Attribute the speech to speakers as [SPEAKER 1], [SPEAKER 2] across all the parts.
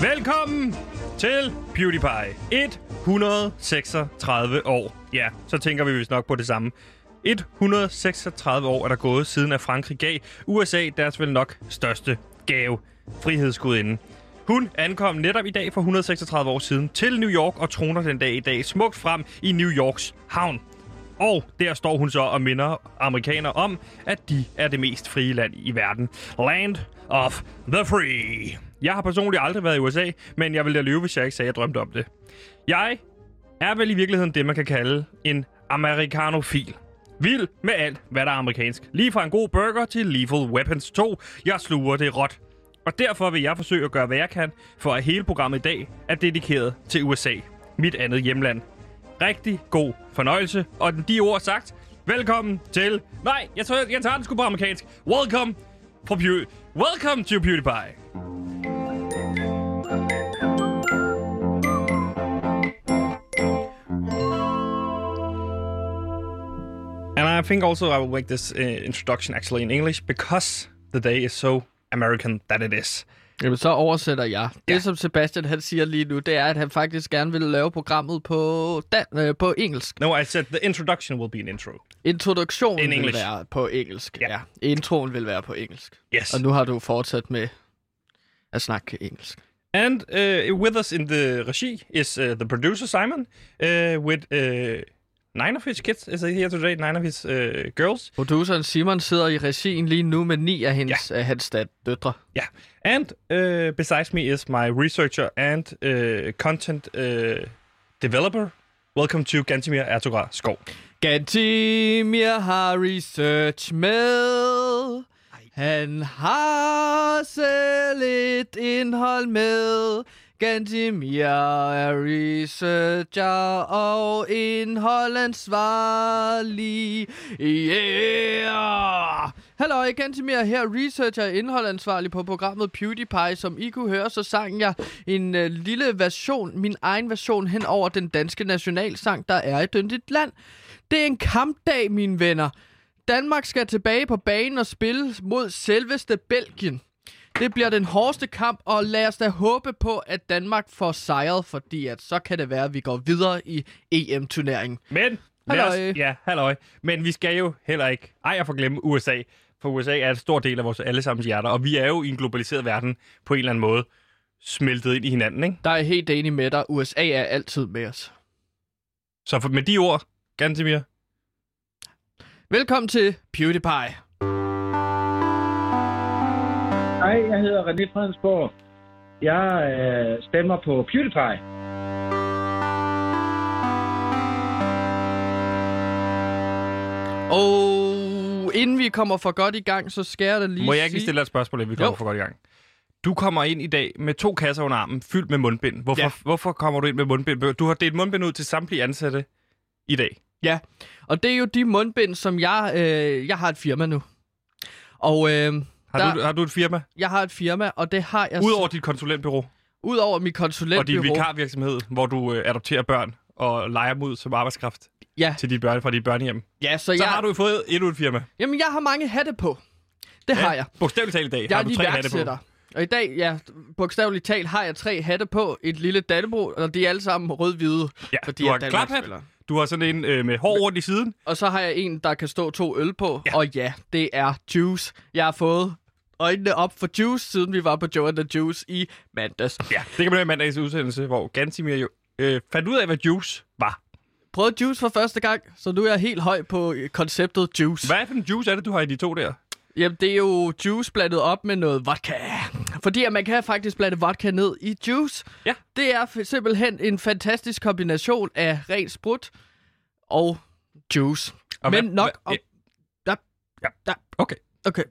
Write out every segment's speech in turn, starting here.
[SPEAKER 1] Velkommen til PewDiePie. 136 år. Ja, så tænker vi vist nok på det samme. 136 år er der gået siden, at Frankrig gav USA deres vel nok største gave. Frihedsgudinden. Hun ankom netop i dag for 136 år siden til New York og troner den dag i dag smukt frem i New Yorks havn. Og der står hun så og minder amerikanere om, at de er det mest frie land i verden. Land of the free. Jeg har personligt aldrig været i USA, men jeg ville da lyve, hvis jeg ikke sagde, at jeg drømte om det. Jeg er vel i virkeligheden det, man kan kalde en amerikanofil. Vild med alt, hvad der er amerikansk. Lige fra en god burger til Lethal Weapons 2. Jeg sluger det råt. Og derfor vil jeg forsøge at gøre, hvad jeg kan, for at hele programmet i dag er dedikeret til USA. Mit andet hjemland rigtig god fornøjelse. Og den de ord sagt, velkommen til... Nej, jeg, tør, jeg tager den sgu på amerikansk. Welcome, for Pew... welcome to PewDiePie. And I think also I will make this uh, introduction actually in English because the day is so American that it is.
[SPEAKER 2] Jamen, så oversætter jeg. Det,
[SPEAKER 1] Ja.
[SPEAKER 2] ja. som Sebastian han siger lige nu, det er, at han faktisk gerne vil lave programmet på, dan- øh, på engelsk.
[SPEAKER 1] No, I said the introduction will be an intro. In
[SPEAKER 2] Introduktionen vil
[SPEAKER 1] English.
[SPEAKER 2] være på engelsk.
[SPEAKER 1] Ja.
[SPEAKER 2] Ja. ja. Introen vil være på engelsk.
[SPEAKER 1] Yes.
[SPEAKER 2] Og nu har du fortsat med at snakke engelsk.
[SPEAKER 1] And uh, with us in the regi is uh, the producer Simon uh, with uh, nine of his kids is here today, nine of his uh, girls.
[SPEAKER 2] Produceren Simon sidder i regien lige nu med ni af hendes, ja. af hans dat- døtre.
[SPEAKER 1] Yeah. And uh, besides me is my researcher and uh, content uh, developer. Welcome to Gantimir Ertugra Skov.
[SPEAKER 2] Gantimir har research med. Han har selv et indhold med. Gantimir er researcher og indholdansvarlig. Yeah! Hallo, Gantimir her, researcher og indholdansvarlig på programmet PewDiePie. Som I kunne høre, så sang jeg en øh, lille version, min egen version, hen over den danske nationalsang, der er i Dyndigt Land. Det er en kampdag, mine venner. Danmark skal tilbage på banen og spille mod selveste Belgien. Det bliver den hårdeste kamp, og lad os da håbe på, at Danmark får sejret, fordi at så kan det være, at vi går videre i E EM-turneringen.
[SPEAKER 1] Men, lad os,
[SPEAKER 2] Halløj.
[SPEAKER 1] ja, halløj. Men vi skal jo heller ikke ej at forglemme USA, for USA er en stor del af vores allesammens hjerter, og vi er jo i en globaliseret verden på en eller anden måde smeltet ind i hinanden, ikke?
[SPEAKER 2] Der er jeg helt enig med dig. USA er altid med os.
[SPEAKER 1] Så for, med de ord, Gantimir,
[SPEAKER 2] Velkommen til PewDiePie.
[SPEAKER 3] Hej, jeg hedder René Fredensborg. Jeg øh, stemmer på PewDiePie.
[SPEAKER 2] Og inden vi kommer for godt i gang, så skal jeg da lige
[SPEAKER 1] Må jeg ikke lige
[SPEAKER 2] sige...
[SPEAKER 1] stille dig et spørgsmål, inden vi kommer
[SPEAKER 2] Jo.
[SPEAKER 1] for godt i gang? Du kommer ind i dag med to kasser under armen, fyldt med mundbind. Hvorfor, ja.
[SPEAKER 2] Ja.
[SPEAKER 1] hvorfor kommer du ind med mundbind? Du har delt mundbind ud til samtlige ansatte i dag.
[SPEAKER 2] Ja, og det er jo de mundbind, som jeg... Øh, jeg har et firma nu. Og øh,
[SPEAKER 1] Har,
[SPEAKER 2] der, Altså-
[SPEAKER 1] du, har du et firma?
[SPEAKER 2] jeg har et firma, og det har jeg...
[SPEAKER 1] Udover dit konsulentbyrå
[SPEAKER 2] Udover mit
[SPEAKER 1] og din
[SPEAKER 2] konsulentbyrå.
[SPEAKER 1] vikarvirksomhed, hvor du øh, adopterer børn og leger dem ud som arbejdskraft
[SPEAKER 2] Ja,
[SPEAKER 1] til dit børn, fra dit børnehjem.
[SPEAKER 2] ja så,
[SPEAKER 1] Så
[SPEAKER 2] jeg,
[SPEAKER 1] har du fået endnu et firma.
[SPEAKER 2] Jamen, jeg har mange hatte på. Det har jeg.
[SPEAKER 1] Bogstaveligt talt i dag
[SPEAKER 2] Jeg
[SPEAKER 1] har
[SPEAKER 2] er
[SPEAKER 1] du tre hatte på.
[SPEAKER 2] iværksætter. Og i dag, ja, bogstaveligt talt, har jeg tre hatte på. Et lille Dannebro, og de er alle sammen rød-hvide.
[SPEAKER 1] Ja,
[SPEAKER 2] fordi
[SPEAKER 1] du
[SPEAKER 2] jeg
[SPEAKER 1] har
[SPEAKER 2] er
[SPEAKER 1] en klaphat,
[SPEAKER 2] Danmarksspiller.
[SPEAKER 1] du har sådan en øh, med hår rundt i siden.
[SPEAKER 2] Og så har jeg en, der kan stå to øl på. Ja. Og ja, det er Juice. Jeg har fået øjnene op for Juice, siden vi var på Joe and the Juice i mandags.
[SPEAKER 1] Ja, det kan man høre i mandagens udsendelse, hvor Gansimir jo øh, fandt ud af, hvad juice var.
[SPEAKER 2] Prøvede Juice for første gang, så nu er jeg helt høj på øh, konceptet Juice.
[SPEAKER 1] Hvad for en juice er det, du har i de to der?
[SPEAKER 2] Jamen, det er jo juice blandet op med noget vodka. Fordi at man kan faktisk blande vodka ned i juice.
[SPEAKER 1] Ja.
[SPEAKER 2] Det er f- simpelthen en fantastisk kombination af ren sprut og juice.
[SPEAKER 1] Og
[SPEAKER 2] Og Men
[SPEAKER 1] hvad-
[SPEAKER 2] hvad, nok
[SPEAKER 1] hvad-
[SPEAKER 2] om... Der,
[SPEAKER 1] Ja.
[SPEAKER 2] der,
[SPEAKER 1] Okay.
[SPEAKER 2] okay.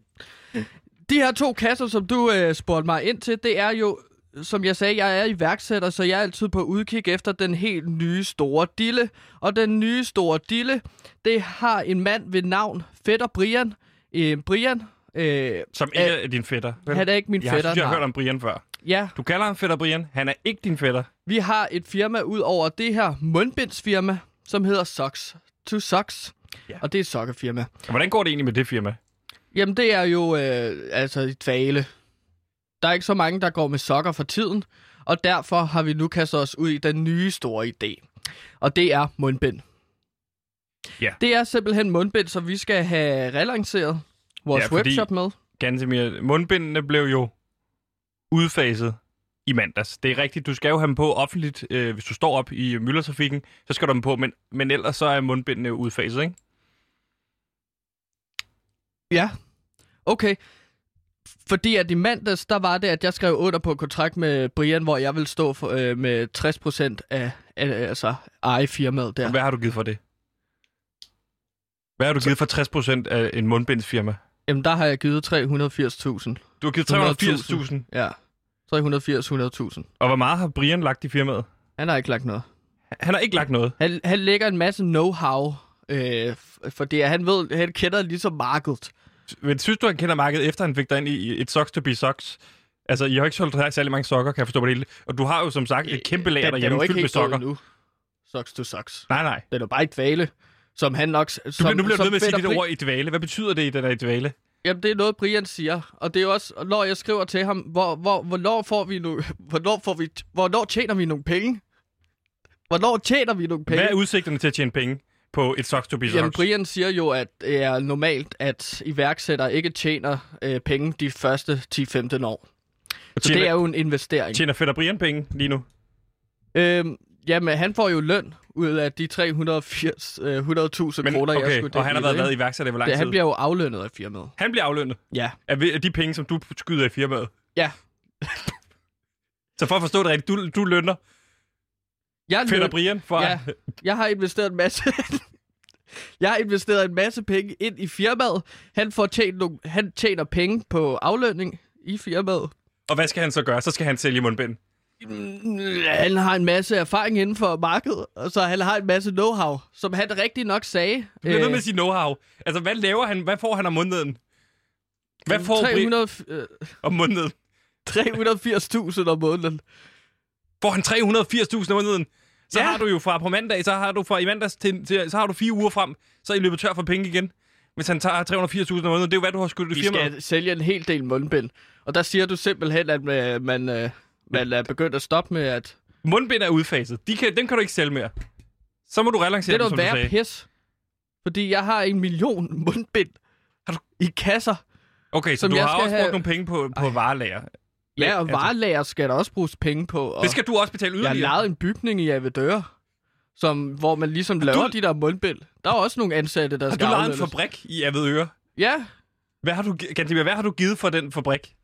[SPEAKER 2] De her to kasser, som du øh, spurgte mig ind til, det er jo, som jeg sagde, jeg er iværksætter, så jeg er altid på udkig efter den helt nye store dille. Og den nye store dille, det har en mand ved navn Fætter Brian. Øh, Brian, øh,
[SPEAKER 1] Som ikke er din fætter. vel?
[SPEAKER 2] han er ikke min
[SPEAKER 1] jeg
[SPEAKER 2] fætter,
[SPEAKER 1] Jeg synes, jeg har
[SPEAKER 2] nej.
[SPEAKER 1] hørt om Brian før.
[SPEAKER 2] ja,
[SPEAKER 1] Du kalder ham fætter Brian. Han er ikke din fætter.
[SPEAKER 2] vi har et firma ud over det her mundbindsfirma, som hedder Socks to Socks.
[SPEAKER 1] Ja.
[SPEAKER 2] Ja. Og det er et sokkefirma.
[SPEAKER 1] Og Hvordan går det egentlig med det firma?
[SPEAKER 2] Jamen, det er jo øh, altså i dvale. Der er ikke så mange, der går med sokker for tiden. og derfor har vi nu kastet os ud i den nye store idé. Og det er mundbind.
[SPEAKER 1] Ja.
[SPEAKER 2] Det er simpelthen mundbind, som vi skal have relanceret vores
[SPEAKER 1] Ja,
[SPEAKER 2] ja,
[SPEAKER 1] fordi-
[SPEAKER 2] webshop med.
[SPEAKER 1] Ganske mere. Mundbindene blev jo udfaset i mandags. Det er rigtigt, du skal jo have dem på offentligt, øh, hvis du står op i myldretrafikken, så skal du have dem på, men, men ellers så er mundbindene jo udfaset, ikke?
[SPEAKER 2] Ja. Okay. Fordi at i mandags, der var det, at jeg skrev under på en kontrakt med Brian, hvor jeg vil stå for, øh, med 60% af, af altså, eje firmaet
[SPEAKER 1] Ja.
[SPEAKER 2] der.
[SPEAKER 1] Hvad har du givet for det? Hvad har du givet for 60% af en mundbindsfirma?
[SPEAKER 2] Jamen, der har jeg givet 380.000.
[SPEAKER 1] Du har givet 380.000.
[SPEAKER 2] 380.000. Ja. 380-100.000.
[SPEAKER 1] Og hvor meget har Brian lagt i firmaet?
[SPEAKER 2] Han har ikke lagt noget.
[SPEAKER 1] Han har ikke lagt noget.
[SPEAKER 2] Han, han lægger en masse know-how, øh, f- fordi han ved, han kender ligesom markedet.
[SPEAKER 1] Men synes du, han kender markedet, efter han fik dig ind i et socks to be socks? Altså, I har ikke solgt særlig mange sokker, kan jeg forstå på det hele. Og du har jo som sagt et kæmpe lager
[SPEAKER 2] Øh, Den- den er jo
[SPEAKER 1] derhjemme
[SPEAKER 2] ikke
[SPEAKER 1] fyldt med
[SPEAKER 2] helt død
[SPEAKER 1] sokker.
[SPEAKER 2] endnu. Socks to socks.
[SPEAKER 1] Nej, nej.
[SPEAKER 2] Den er bare i dvale, som han nok... Som,
[SPEAKER 1] Du bliver, nu bliver du
[SPEAKER 2] som
[SPEAKER 1] nødt med at sige
[SPEAKER 2] Fætter
[SPEAKER 1] det
[SPEAKER 2] Pri-
[SPEAKER 1] ord i dvale. Hvad betyder det, den er i dvale?
[SPEAKER 2] Jamen, det er noget, Brian siger. Og det er jo også, og når jeg skriver til ham, hvor, hvor, hvornår, får vi nu, hvornår, får vi, hvornår tjener vi nogle penge? Hvornår tjener vi nogle penge?
[SPEAKER 1] Hvad er udsigterne til at tjene penge på et socks to be
[SPEAKER 2] Jamen,
[SPEAKER 1] socks?
[SPEAKER 2] Brian siger jo, at det er normalt, at iværksættere ikke tjener øh, penge de første 10-15 år. Så
[SPEAKER 1] Tjener-
[SPEAKER 2] det er jo en investering.
[SPEAKER 1] Tjener Fætter Brian penge lige nu?
[SPEAKER 2] Øhm, jamen, han får jo løn ud af de 380 øh,
[SPEAKER 1] Men,
[SPEAKER 2] 100.000 kroner, jeg
[SPEAKER 1] okay,
[SPEAKER 2] skulle
[SPEAKER 1] og han har været,
[SPEAKER 2] dele,
[SPEAKER 1] været
[SPEAKER 2] ikke?
[SPEAKER 1] iværksætter i hvor lang
[SPEAKER 2] Det-
[SPEAKER 1] tid?
[SPEAKER 2] Han bliver jo aflønnet af firmaet.
[SPEAKER 1] han bliver aflønnet
[SPEAKER 2] Ja.
[SPEAKER 1] af ved- af de penge, som du skyder i firmaet.
[SPEAKER 2] Ja.
[SPEAKER 1] Så for at forstå det rigtigt, du, du lønner
[SPEAKER 2] Jeg,
[SPEAKER 1] Fætter
[SPEAKER 2] løn,
[SPEAKER 1] Brian for...
[SPEAKER 2] Ja. jeg har investeret en masse... jeg har investeret en masse penge ind i firmaet. Han, får tjent nogle, han tjener penge på aflønning i firmaet.
[SPEAKER 1] Og hvad skal han så gøre? Så skal han sælge mundbind.
[SPEAKER 2] Mm, Han har en masse erfaring inden for markedet, og så han har en masse know-how, som han rigtig nok sagde. øh,
[SPEAKER 1] Du bliver nødt med sin know-how. Altså, hvad laver han? Hvad får han om måneden? Hvad får 300...
[SPEAKER 2] 300, øh,
[SPEAKER 1] om måneden?
[SPEAKER 2] 380.000 om måneden.
[SPEAKER 1] Får han 380.000 om måneden? Så ja.
[SPEAKER 2] Ja.
[SPEAKER 1] har du jo fra på mandag, så har du fra i mandags til, til, så har du fire uger frem, så er I løbet tør for penge igen. Hvis han tager 380.000 om måneden, det er jo hvad du har skudt i
[SPEAKER 2] Vi
[SPEAKER 1] firmaet.
[SPEAKER 2] skal sælge en hel del mundbind. Og der siger du simpelthen, at øh, man, øh, man er begyndt at stoppe med, at
[SPEAKER 1] Mundbind er udfaset. De kan, dem kan du ikke sælge mere. Så må du relancere
[SPEAKER 2] det
[SPEAKER 1] dem,
[SPEAKER 2] er
[SPEAKER 1] som
[SPEAKER 2] noget
[SPEAKER 1] ligesom, du
[SPEAKER 2] værre
[SPEAKER 1] sagde.
[SPEAKER 2] pis. Fordi jeg har en million mundbind
[SPEAKER 1] Har du-
[SPEAKER 2] i kasser.
[SPEAKER 1] Okay, så
[SPEAKER 2] som
[SPEAKER 1] du
[SPEAKER 2] jeg
[SPEAKER 1] har
[SPEAKER 2] skal
[SPEAKER 1] også brugt
[SPEAKER 2] have-
[SPEAKER 1] nogle penge på, på varelager.
[SPEAKER 2] Ja, og
[SPEAKER 1] altså-
[SPEAKER 2] varelager skal der også bruges penge på. Og
[SPEAKER 1] Det skal du også betale
[SPEAKER 2] jeg har
[SPEAKER 1] yderligere.
[SPEAKER 2] lejet en bygning i Avedøre, som, hvor man ligesom laver de der mundbind. Der er også nogle ansatte, der
[SPEAKER 1] har
[SPEAKER 2] skal
[SPEAKER 1] du lejet en
[SPEAKER 2] aflønnes.
[SPEAKER 1] fabrik i Avedøre?
[SPEAKER 2] Ja,
[SPEAKER 1] Hvad har du, gi- Gantemir, hvad har du givet for den fabrik?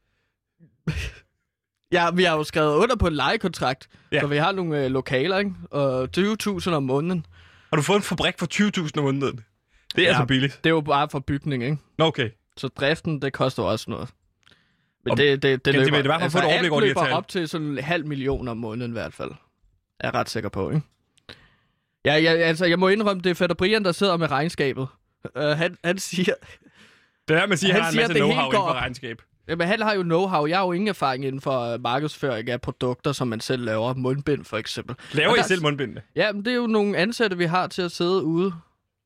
[SPEAKER 2] Ja, vi har jo skrevet under på en lejekontrakt,
[SPEAKER 1] Ja.
[SPEAKER 2] ja. så vi har nogle øh, lokaler, ikke? Og 20.000 om måneden.
[SPEAKER 1] Har du fået en fabrik for 20.000 om måneden? Det er ja.
[SPEAKER 2] Ja.
[SPEAKER 1] altså billigt.
[SPEAKER 2] Det er jo bare for bygning, ikke?
[SPEAKER 1] Nå, okay.
[SPEAKER 2] Så driften, det koster jo også noget. Men
[SPEAKER 1] Om-
[SPEAKER 2] Om, det, det,
[SPEAKER 1] Kan
[SPEAKER 2] det løber, altså,
[SPEAKER 1] det være, det var for at få et overblik
[SPEAKER 2] alt
[SPEAKER 1] over de her
[SPEAKER 2] løber
[SPEAKER 1] tal?
[SPEAKER 2] op til sådan en halv million om måneden i hvert fald. Er jeg ret sikker på, ikke? Ja, ja, altså, jeg må indrømme, det er Fætter Brian, der sidder med regnskabet. Uh, han, han siger...
[SPEAKER 1] Det her, man siger, han
[SPEAKER 2] Han
[SPEAKER 1] har en
[SPEAKER 2] siger,
[SPEAKER 1] masse
[SPEAKER 2] det hele
[SPEAKER 1] know-how
[SPEAKER 2] går
[SPEAKER 1] inden for
[SPEAKER 2] op.
[SPEAKER 1] regnskab.
[SPEAKER 2] Jamen, han har jo know-how. Jeg har jo ingen erfaring inden for øh, markedsføring af produkter, som man selv laver. Mundbind, for eksempel.
[SPEAKER 1] Laver I
[SPEAKER 2] Og der-
[SPEAKER 1] selv mundbindene?
[SPEAKER 2] Ja, men det er jo nogle ansatte, vi har til at sidde ude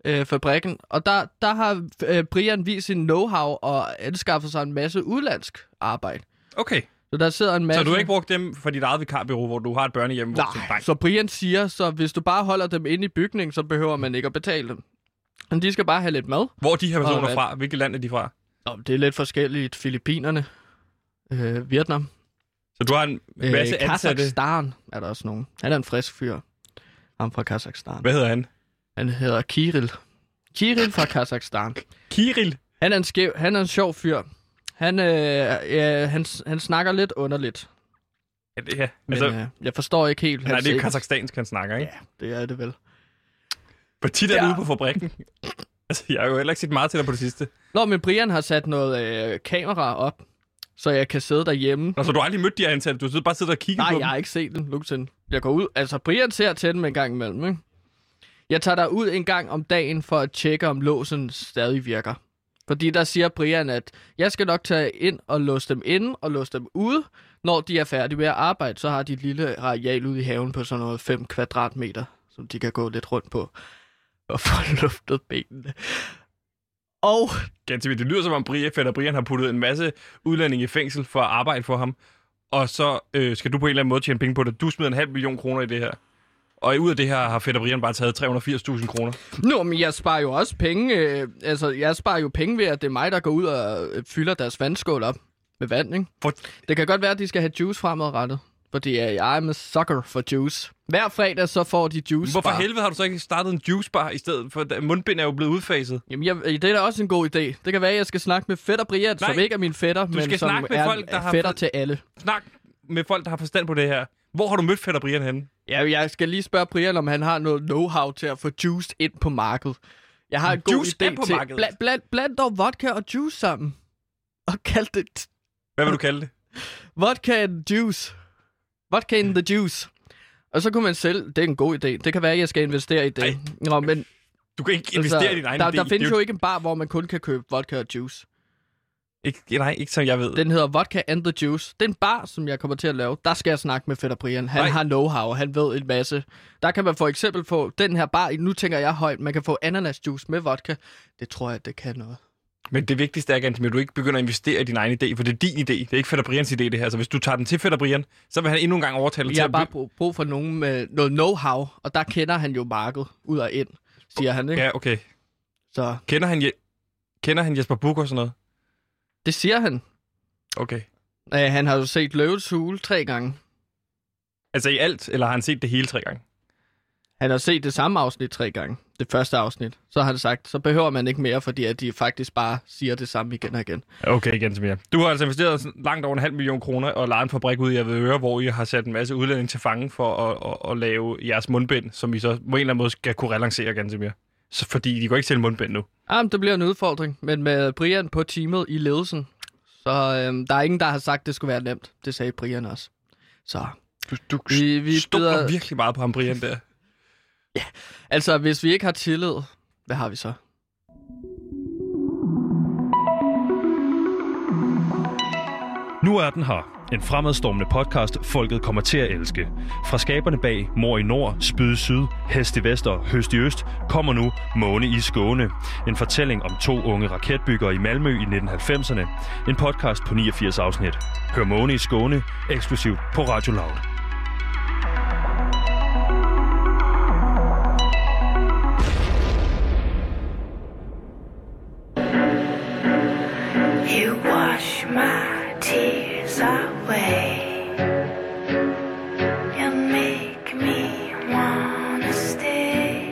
[SPEAKER 2] øh, fabrikken. Og der, der har øh, Brian vist sin know-how og anskaffet sig en masse udlandsk arbejde.
[SPEAKER 1] Okay.
[SPEAKER 2] Så der sidder en masse...
[SPEAKER 1] Så du har ikke brugt dem for dit eget vikarbyrå, hvor du har et børnehjem? hvor- som
[SPEAKER 2] Nej,
[SPEAKER 1] bank?
[SPEAKER 2] så Brian siger, så hvis du bare holder dem inde i bygningen, så behøver man ikke at betale dem. Men de skal bare have lidt mad.
[SPEAKER 1] Hvor er de her
[SPEAKER 2] Nå,
[SPEAKER 1] personer
[SPEAKER 2] hvad-
[SPEAKER 1] fra? Hvilket land er de fra?
[SPEAKER 2] Nå, men det er lidt forskelligt. Filippinerne, øh, Vietnam,
[SPEAKER 1] Så du har en
[SPEAKER 2] øh,
[SPEAKER 1] masse øh, ansatte.
[SPEAKER 2] Kazakhstan er der også nogen. Han er en frisk fyr. Ham fra Kazakhstan.
[SPEAKER 1] Hvad hedder han?
[SPEAKER 2] Han hedder Kirill. Kirill fra Kazakhstan.
[SPEAKER 1] Kirill.
[SPEAKER 2] Han er en, skæv, han er en sjov fyr. Han, øh, øh, han, han snakker lidt underligt,
[SPEAKER 1] Ja, det her.
[SPEAKER 2] men
[SPEAKER 1] Altså,
[SPEAKER 2] øh, jeg forstår ikke helt
[SPEAKER 1] nej,
[SPEAKER 2] hans
[SPEAKER 1] det er
[SPEAKER 2] ikke-
[SPEAKER 1] kazakhstansk, han snakker, ikke?
[SPEAKER 2] Ja, det er det vel.
[SPEAKER 1] Hvor tit er du
[SPEAKER 2] Ja.
[SPEAKER 1] ude på fabrikken? altså, jeg har jo heller ikke set meget til dig på det sidste.
[SPEAKER 2] Nå, men Brian har sat noget øh, kamera op, så jeg kan sidde derhjemme.
[SPEAKER 1] Nå, så du har aldrig mødt de her ansatte? Du har siddet- bare siddet og kigget
[SPEAKER 2] Nej,
[SPEAKER 1] på
[SPEAKER 2] jeg har ikke set den, nogensinde. Jeg går ud. Altså, Brian ser til dem en gang imellem, ikke? Jeg tager der ud en gang om dagen for at tjekke, om låsen stadig virker. Fordi der siger Brian, at jeg skal nok tage ind og låse dem inde og låse dem ude. Når de er færdige med at arbejde, så har de et lille areal ude i haven på sådan noget 5 kvadratmeter, som de kan gå lidt rundt på og få luftet benene. Og
[SPEAKER 1] Ganske vildt. Det lyder som om Brian, Fætter Brian har puttet en masse udlændinge i fængsel for at arbejde for ham. og så øh, skal du på en eller anden måde tjene penge på det. Du smider en halv million kroner i det her. Og ud af det her har Fedder Brian bare taget 380.000 kroner.
[SPEAKER 2] Nå, men jeg sparer jo også penge. Øh, altså, jeg sparer jo penge ved, at det er mig, der går ud og øh, fylder deres vandskål op med vand, ikke?
[SPEAKER 1] For...
[SPEAKER 2] Det kan godt være, at de skal have juice fremadrettet. Fordi øh, jeg er med sucker for juice. Hver fredag så får de juice
[SPEAKER 1] Hvorfor
[SPEAKER 2] bar.
[SPEAKER 1] helvede har du så ikke startet en juicebar i stedet? For da- mundbind er jo blevet udfaset.
[SPEAKER 2] Jamen, jeg, øh, det er da også en god idé. Det kan være, at jeg skal snakke med fætter Brian,
[SPEAKER 1] Nej,
[SPEAKER 2] som ikke er min fætter, men
[SPEAKER 1] skal
[SPEAKER 2] som
[SPEAKER 1] snakke med
[SPEAKER 2] er
[SPEAKER 1] folk, der har
[SPEAKER 2] fætter
[SPEAKER 1] fået-
[SPEAKER 2] til alle.
[SPEAKER 1] Snak med folk, der har forstand på det her. Hvor har du mødt Fedder Brian henne?
[SPEAKER 2] Ja, jeg skal lige spørge Brian, om han har noget know-how til at få juiced ind på markedet. Jeg har en god
[SPEAKER 1] Juiced ind
[SPEAKER 2] idé
[SPEAKER 1] på
[SPEAKER 2] til...
[SPEAKER 1] markedet?
[SPEAKER 2] Bland, bland, bland dog vodka og juice sammen. Og kald det
[SPEAKER 1] Hvad vil du kalde det?
[SPEAKER 2] vodka and juice. Vodka in the juice. Og så kunne man selv... Det er en god idé. Det kan være, at jeg skal investere i det.
[SPEAKER 1] Ej,
[SPEAKER 2] Nå, men
[SPEAKER 1] Du kan ikke investere i din egen
[SPEAKER 2] Altså, der,
[SPEAKER 1] idé.
[SPEAKER 2] der
[SPEAKER 1] Det er
[SPEAKER 2] findes jo ikke en bar, hvor man kun kan købe vodka og juice.
[SPEAKER 1] Ikke, nej, ikke som jeg ved.
[SPEAKER 2] Den hedder Vodka and the Juice. Det er en bar, som jeg kommer til at lave. Der skal jeg snakke med Fætter Brian. Han
[SPEAKER 1] Nej.
[SPEAKER 2] har know-how, han ved en masse. Der kan man for eksempel få den her bar, nu tænker jeg højt, man kan få ananasjuice med vodka. Det tror jeg, det kan noget.
[SPEAKER 1] Men det vigtigste er, Gantemir, at du ikke begynder at investere i din egen idé, for det er din idé. Det er ikke Fætter Brians idé, det her. Så hvis du tager den til Fætter Brian, så vil han endnu en gang overtale dig
[SPEAKER 2] Jeg
[SPEAKER 1] til
[SPEAKER 2] har
[SPEAKER 1] at
[SPEAKER 2] bare
[SPEAKER 1] by-
[SPEAKER 2] brug, brug for nogen med noget know-how, og der kender han jo markedet ud og ind, siger han. Ikke?
[SPEAKER 1] Ja, okay.
[SPEAKER 2] Så
[SPEAKER 1] Kender han, Je- Kender han Jesper Buch og sådan noget?
[SPEAKER 2] det siger han.
[SPEAKER 1] Okay.
[SPEAKER 2] Øh, han har jo set Løvets Hule tre gange.
[SPEAKER 1] Altså i alt, eller har han set det hele tre gange?
[SPEAKER 2] Han har set det samme afsnit tre gange. Det første afsnit. Så har han sagt, så behøver man ikke mere, fordi at de faktisk bare siger det samme igen og igen.
[SPEAKER 1] Okay, Gantemir. Du har altså investeret sådan langt over en halv million kroner og lejet en fabrik ud i Avedøre, hvor I har sat en masse udlændinge til fange for at, at, at lave jeres mundbind, som I så på en eller anden måde skal kunne relancere, Gantemir. Så, fordi de går ikke sælge mundbind nu.
[SPEAKER 2] Jamen, Ah, det bliver en udfordring, men med Brian på teamet i ledelsen, så øhm, der er ingen, der har sagt, det skulle være nemt. Det sagde Brian også. Så
[SPEAKER 1] Du, du
[SPEAKER 2] vi, vi
[SPEAKER 1] stoler virkelig meget på ham, Brian, der.
[SPEAKER 2] Altså, hvis vi ikke har tillid, hvad har vi så?
[SPEAKER 4] Nu er den her. En fremadstormende podcast, folket kommer til at elske. Fra skaberne bag Mor i Nord, Spyd i Syd, Hest i Vest og Høst i Øst kommer nu Måne i Skåne. En fortælling om to unge raketbyggere i Malmø i 1990'erne. En podcast på 89 afsnit. Hør Måne i Skåne eksklusivt på Radio Loud.
[SPEAKER 5] You wash my tears away You make me wanna stay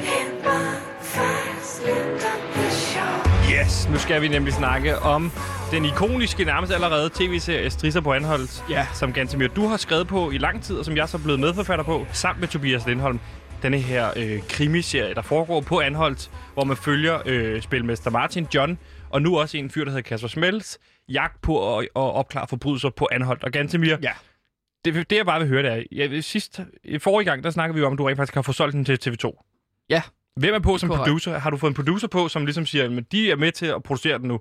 [SPEAKER 5] In my fast lit up the shore
[SPEAKER 1] Yes, nu skal vi nemlig snakke om den ikoniske, nærmest allerede tv-serie Strisser på Anholdt,
[SPEAKER 2] Ja.
[SPEAKER 1] som Gantemir, du har skrevet på i lang tid, og som jeg så er blevet medforfatter på, sammen med Tobias Lindholm. Denne her øh, krimiserie, der foregår på Anholdt, hvor man følger øh, spilmester Martin John, og nu også en fyr, der hedder Kasper Smels, jagt på at, at opklare forbrydelser på Anholdt. Og Gantemir,
[SPEAKER 2] Ja.
[SPEAKER 1] det, det jeg bare vil høre, det er, ja, sidst, i forrige gang, der snakkede vi jo om, at du rent faktisk har fået solgt den til TV2.
[SPEAKER 2] Ja,
[SPEAKER 1] Hvem er på som
[SPEAKER 2] Korrekt.
[SPEAKER 1] producer? Har du fået en producer på, som ligesom siger, at de er med til at producere den nu?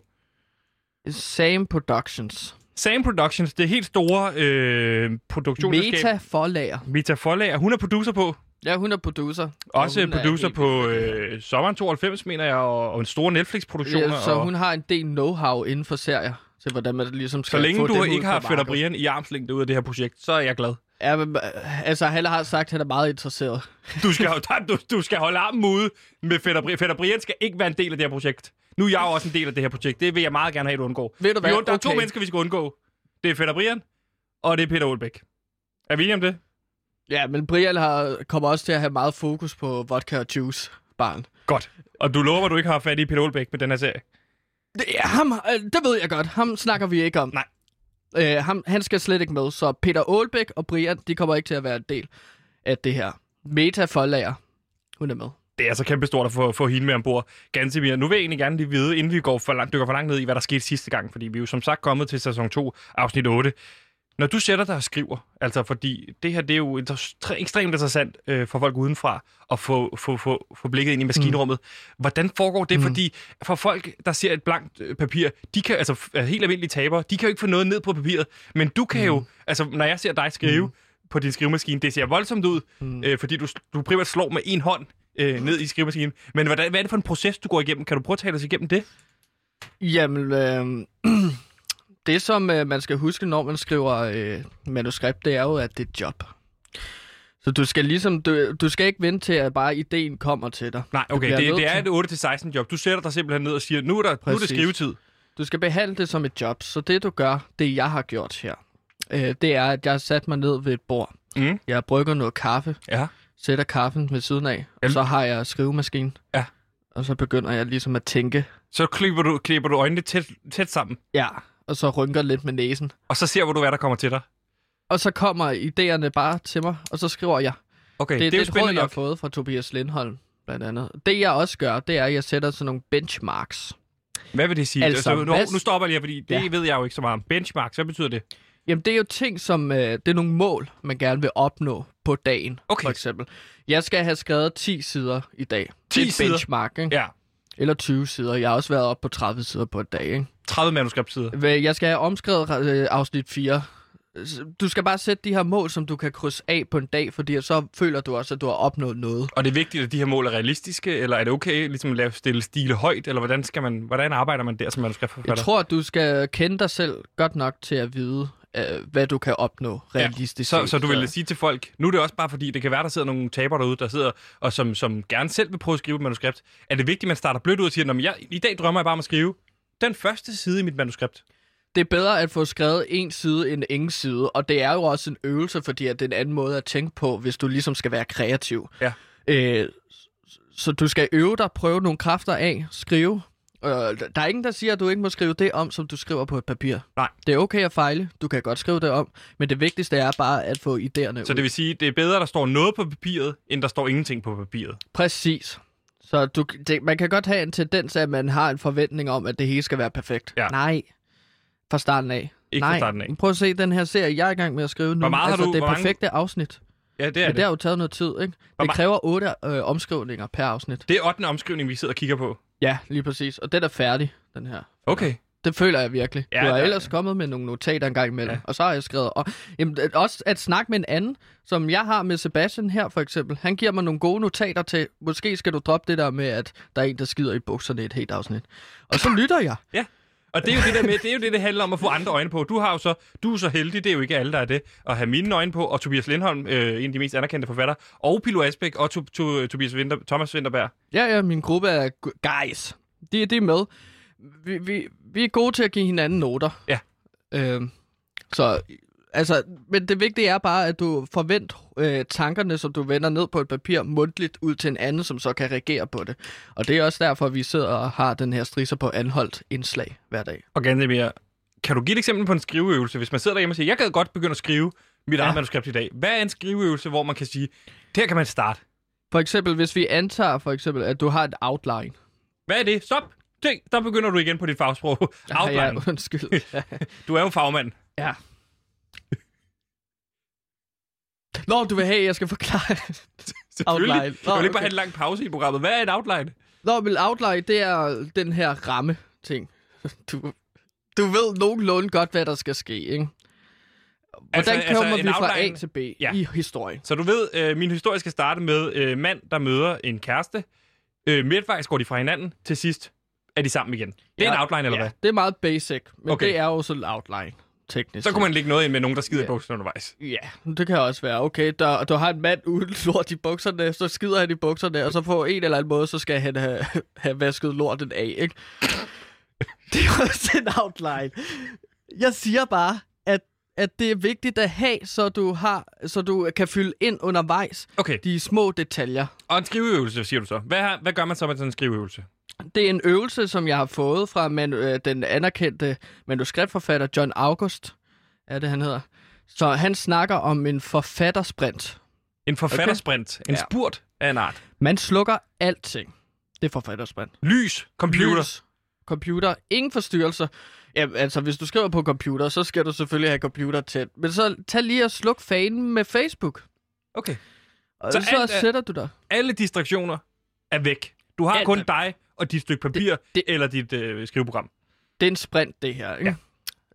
[SPEAKER 2] Same Productions.
[SPEAKER 1] Sam Productions, det helt store øh, produktionsselskab.
[SPEAKER 2] Meta forlager.
[SPEAKER 1] Meta Forlager. Hun er producer på.
[SPEAKER 2] Ja, hun er producer. og
[SPEAKER 1] Også
[SPEAKER 2] hun er
[SPEAKER 1] producer
[SPEAKER 2] helt
[SPEAKER 1] på
[SPEAKER 2] vild med det her.
[SPEAKER 1] øh, sommeren 92, mener jeg, og, og en store Netflix-produktioner.
[SPEAKER 2] Ja, så
[SPEAKER 1] og,
[SPEAKER 2] hun har en del know-how inden for serier, til hvordan man ligesom
[SPEAKER 1] så
[SPEAKER 2] skal
[SPEAKER 1] længe
[SPEAKER 2] få
[SPEAKER 1] du
[SPEAKER 2] dem ud
[SPEAKER 1] ikke
[SPEAKER 2] på
[SPEAKER 1] har Fedder
[SPEAKER 2] markedet.
[SPEAKER 1] Brian i armslængde ud af det her projekt, så er jeg glad.
[SPEAKER 2] Ja, men, øh, altså, han har sagt, at han er meget interesseret.
[SPEAKER 1] Du skal, holde- du, du skal holde armen ude med Fedder Brian. Fedder Brian skal ikke være en del af det her projekt. Nu er jeg jo også en del af det her projekt. Det vil jeg meget gerne have, at du undgår.
[SPEAKER 2] Ved du
[SPEAKER 1] Vi
[SPEAKER 2] hvad?
[SPEAKER 1] und- der er to
[SPEAKER 2] Okay.
[SPEAKER 1] mennesker, vi skal undgå. Det er Fedder Brian, og det er Peter Olbæk. Er vi enige om det?
[SPEAKER 2] Ja, men Brian har, kommer også til at have meget fokus på vodka og juice, barn.
[SPEAKER 1] Godt. Og du lover, at du ikke har fat i Peter Olbæk med den her serie?
[SPEAKER 2] Det, ja, ham, øh, det ved jeg godt. Ham snakker vi ikke om.
[SPEAKER 1] Nej.
[SPEAKER 2] Øh, ham, han skal slet ikke med, så Peter Aalbæk og Brian, de kommer ikke til at være en del af det her. Meta forlager, hun er med.
[SPEAKER 1] Det er så kæmpestort at få, få hende med ombord. Gansimir, nu vil jeg egentlig gerne lige vide, inden vi går for langt, dykker for langt ned i, hvad der skete sidste gang, fordi vi er jo som sagt kommet til sæson 2, afsnit 8. Når du sætter dig og skriver, altså fordi det her det er jo inter- ekstremt interessant øh, for folk udenfra at få, få, få, få blikket ind i maskinrummet. Mm. Hvordan foregår det? Mm. Fordi for folk, der ser et blankt øh, papir, de kan, altså f- helt almindelige tabere, de kan jo ikke få noget ned på papiret, men du kan mm. jo, altså når jeg ser dig skrive, mm. på din skrivemaskine. Det ser voldsomt ud, mm. øh, fordi du, du primært slår med en hånd øh, ned i skrivemaskinen. Men hvordan, hvad er det for en proces, du går igennem? Kan du prøve at tale os igennem det?
[SPEAKER 2] Jamen, øh, øhm, Det, som øh, man skal huske, når man skriver øh, manuskript, det er jo, at det er et job. Så du skal ligesom, du, du skal ikke vente til, at bare ideen kommer til dig.
[SPEAKER 1] Nej, okay,
[SPEAKER 2] bliver
[SPEAKER 1] det,
[SPEAKER 2] nødt
[SPEAKER 1] det er
[SPEAKER 2] til.
[SPEAKER 1] et 8-16 job. Du sætter dig simpelthen ned og siger, nu er, der, nu er det
[SPEAKER 2] Præcis.
[SPEAKER 1] skrivetid.
[SPEAKER 2] Du skal behandle det som et job, så det du gør, det jeg har gjort her, øh, det er, at jeg har sat mig ned ved et bord.
[SPEAKER 1] Mm.
[SPEAKER 2] Jeg brygger noget kaffe,
[SPEAKER 1] Ja.
[SPEAKER 2] sætter kaffen ved siden af,
[SPEAKER 1] Ja.
[SPEAKER 2] og så har jeg skrivemaskinen.
[SPEAKER 1] Ja.
[SPEAKER 2] Og så begynder jeg ligesom at tænke,
[SPEAKER 1] Så klipper du, klipper du øjnene tæt, tæt sammen,
[SPEAKER 2] ja, og så rynker lidt med næsen.
[SPEAKER 1] og så ser hvor du, hvad der kommer til dig.
[SPEAKER 2] Og så kommer idéerne bare til mig, og så skriver jeg.
[SPEAKER 1] Okay,
[SPEAKER 2] Det, det, det er
[SPEAKER 1] jo
[SPEAKER 2] det råd,
[SPEAKER 1] spændende
[SPEAKER 2] jeg har
[SPEAKER 1] nok.
[SPEAKER 2] fået fra Tobias Lindholm, blandt andet. Det jeg også gør, det er, at jeg sætter sådan nogle benchmarks.
[SPEAKER 1] Hvad vil det sige?
[SPEAKER 2] Altså,
[SPEAKER 1] Altså, nu,
[SPEAKER 2] hvad-
[SPEAKER 1] nu stopper jeg lige, her, fordi det
[SPEAKER 2] Ja.
[SPEAKER 1] ved jeg jo ikke så meget om. Benchmarks, hvad betyder det?
[SPEAKER 2] Jamen, det er jo ting, som... Øh, det er nogle mål, man gerne vil opnå på dagen,
[SPEAKER 1] Okay.
[SPEAKER 2] for eksempel. Jeg skal have skrevet 10 sider i dag.
[SPEAKER 1] 10
[SPEAKER 2] det er et
[SPEAKER 1] sider?
[SPEAKER 2] benchmark, ikke?
[SPEAKER 1] Ja,
[SPEAKER 2] Eller 20 sider. Jeg har også været oppe på 30 sider på et dag, ikke?
[SPEAKER 1] 30 manuskriptsider.
[SPEAKER 2] Hvad- Jeg skal have omskrevet øh, afsnit 4. S- Du skal bare sætte de her mål, som du kan krydse af på en dag, fordi så føler du også, at du har opnået noget.
[SPEAKER 1] Og det er vigtigt, at de her mål er realistiske, eller er det okay ligesom at lave stille stile højt, eller hvordan, skal man, hvordan arbejder man der som manuskriptforfatter?
[SPEAKER 2] Jeg tror, at du skal kende dig selv godt nok til at vide, øh, hvad du kan opnå realistisk.
[SPEAKER 1] så,
[SPEAKER 2] set.
[SPEAKER 1] så du vil sige til folk, nu er det også bare fordi, det kan være, der sidder nogle tabere derude, der sidder og som, som gerne selv vil prøve at skrive et manuskript. Er det vigtigt, at man starter blødt ud og siger, "Nå, men jeg, i dag drømmer jeg bare om at skrive den første side i mit manuskript?
[SPEAKER 2] Det er bedre at få skrevet en side end ingen side, og det er jo også en øvelse, fordi at det er en anden måde at tænke på, hvis du ligesom skal være kreativ.
[SPEAKER 1] Ja.
[SPEAKER 2] Øh, s- så du skal øve dig, prøve nogle kræfter af, skrive. Øh, der er ingen, der siger, at du ikke må skrive det om, som du skriver på et papir.
[SPEAKER 1] Nej.
[SPEAKER 2] Det er okay at fejle, du kan godt skrive det om, men det vigtigste er bare at få idéerne
[SPEAKER 1] Så
[SPEAKER 2] ud.
[SPEAKER 1] det vil sige, det er bedre, at der står noget på papiret, end der står ingenting på papiret.
[SPEAKER 2] Præcis. Så du, det, man kan godt have en tendens af, at man har en forventning om, at det hele skal være perfekt.
[SPEAKER 1] Ja.
[SPEAKER 2] Nej. Fra starten af.
[SPEAKER 1] Ikke
[SPEAKER 2] Nej.
[SPEAKER 1] fra starten af.
[SPEAKER 2] Men Prøv at se den her serie, jeg er i gang med at skrive nu.
[SPEAKER 1] Hvor meget har
[SPEAKER 2] altså,
[SPEAKER 1] du-
[SPEAKER 2] det
[SPEAKER 1] hvor mange-
[SPEAKER 2] perfekte afsnit.
[SPEAKER 1] Ja, det er
[SPEAKER 2] Men det
[SPEAKER 1] det.
[SPEAKER 2] har jo taget noget tid, ikke? Det
[SPEAKER 1] mange-
[SPEAKER 2] kræver otte øh, omskrivninger per afsnit.
[SPEAKER 1] Det er 8. omskrivning, vi sidder og kigger på.
[SPEAKER 2] Ja, lige præcis. Og den er færdig, den her.
[SPEAKER 1] Okay.
[SPEAKER 2] Det føler jeg virkelig.
[SPEAKER 1] Ja,
[SPEAKER 2] Ja, du har
[SPEAKER 1] det er-
[SPEAKER 2] ellers kommet med nogle notater en gang imellem,
[SPEAKER 1] Ja.
[SPEAKER 2] ja. og så har jeg skrevet... Og, jamen, det- også at snakke med en anden, som jeg har med Sebastian her for eksempel. Han giver mig nogle gode notater til, måske skal du droppe det der med, at der er en, der skider i bukserne i et helt afsnit. Og så lytter jeg.
[SPEAKER 1] Ja. Og det er jo det der med, det er jo det, det handler om at få andre øjne på. Du har jo så, du er så heldig, det er jo ikke alle, der er det, at have mine øjne på, og Tobias Lindholm, øh, en af de mest anerkendte forfatter, og Pilo Asbæk, og to, to, Tobias Winter, Thomas Winterberg.
[SPEAKER 2] Ja, ja, min gruppe er gu- guys. De, de er med. Vi, vi, vi er gode til at give hinanden noter.
[SPEAKER 1] Ja.
[SPEAKER 2] Øhm, så, altså, men det vigtige er bare, at du forvent øh, tankerne, som du vender ned på et papir, mundtligt ud til en anden, som så kan reagere på det. Og det er også derfor, vi sidder og har den her strisser på anholdt indslag hver dag.
[SPEAKER 1] Og ganske mere. Kan du give et eksempel på en skriveøvelse, hvis man sidder derhjemme og siger, jeg gad godt begynde at skrive mit ja. eget manuskript i dag. Hvad er en skriveøvelse, hvor man kan sige, der kan man starte?
[SPEAKER 2] For eksempel, hvis vi antager, for eksempel, at du har et outline.
[SPEAKER 1] Hvad er det? Stop! Se, der begynder du igen på dit fagsprog.
[SPEAKER 2] Ja,
[SPEAKER 1] Outline.
[SPEAKER 2] ja, undskyld. Ja.
[SPEAKER 1] Du er jo fagmand.
[SPEAKER 2] ja. Nå, du vil have, at jeg skal forklare.
[SPEAKER 1] Selvfølgelig.
[SPEAKER 2] Outline.
[SPEAKER 1] Jeg vil ikke bare
[SPEAKER 2] Okay.
[SPEAKER 1] have en lang pause i programmet. Hvad er et outline?
[SPEAKER 2] Nå, men outline, det er den her ramme-ting. Du, du ved nogenlunde godt, hvad der skal ske, ikke? Hvordan
[SPEAKER 1] Altså-
[SPEAKER 2] altså,
[SPEAKER 1] altså,
[SPEAKER 2] kommer
[SPEAKER 1] en
[SPEAKER 2] vi fra A
[SPEAKER 1] outline-
[SPEAKER 2] til B
[SPEAKER 1] Ja.
[SPEAKER 2] ja. i historien?
[SPEAKER 1] Så du ved, øh, min historie skal starte med øh, mand, der møder en kæreste. Øh, midtvejs går de fra hinanden. Til sidst er de sammen igen. Det er
[SPEAKER 2] Ja.
[SPEAKER 1] en outline, eller
[SPEAKER 2] Ja.
[SPEAKER 1] hvad?
[SPEAKER 2] Det er meget basic, men
[SPEAKER 1] Okay.
[SPEAKER 2] okay. det er jo sådan outline, teknisk.
[SPEAKER 1] Så kunne man lægge noget ind med nogen, der skider i
[SPEAKER 2] Ja.
[SPEAKER 1] bukserne undervejs.
[SPEAKER 2] Ja, det kan også være. Okay, der, du har en mand uden lort i bukserne, så skider han i bukserne, og så på en eller anden måde, så skal han have, have vasket lorten af, ikke? Det er også en outline. Jeg siger bare, at, at det er vigtigt at have, så du, har, så du kan fylde ind undervejs
[SPEAKER 1] Okay,
[SPEAKER 2] de små detaljer.
[SPEAKER 1] og en skriveøvelse, siger du så. Hvad, har- hvad gør man så med sådan en skriveøvelse?
[SPEAKER 2] Det er en øvelse, som jeg har fået fra man, øh, den anerkendte manuskriptforfatter John August, er det han hedder. Så han snakker om en forfattersprint.
[SPEAKER 1] En forfattersprint. Okay. En
[SPEAKER 2] Ja.
[SPEAKER 1] spurt af en art.
[SPEAKER 2] Man slukker alting. Det er forfatterspand.
[SPEAKER 1] Lys, computer. Lys.
[SPEAKER 2] Lys, computer. Ingen forstyrrelser. Ja, altså, hvis du skriver på computer, så skal du selvfølgelig have computer tæt. Men så tag lige og sluk fanen med Facebook.
[SPEAKER 1] Okay.
[SPEAKER 2] Og
[SPEAKER 1] Så
[SPEAKER 2] så, så
[SPEAKER 1] alt er-
[SPEAKER 2] sætter du dig.
[SPEAKER 1] Alle distraktioner er væk. Du har
[SPEAKER 2] Alt
[SPEAKER 1] kun
[SPEAKER 2] er-
[SPEAKER 1] dig og dit stykke papir det, det...
[SPEAKER 2] det-
[SPEAKER 1] eller dit øh, skriveprogram.
[SPEAKER 2] Det er en sprint, det her, ikke?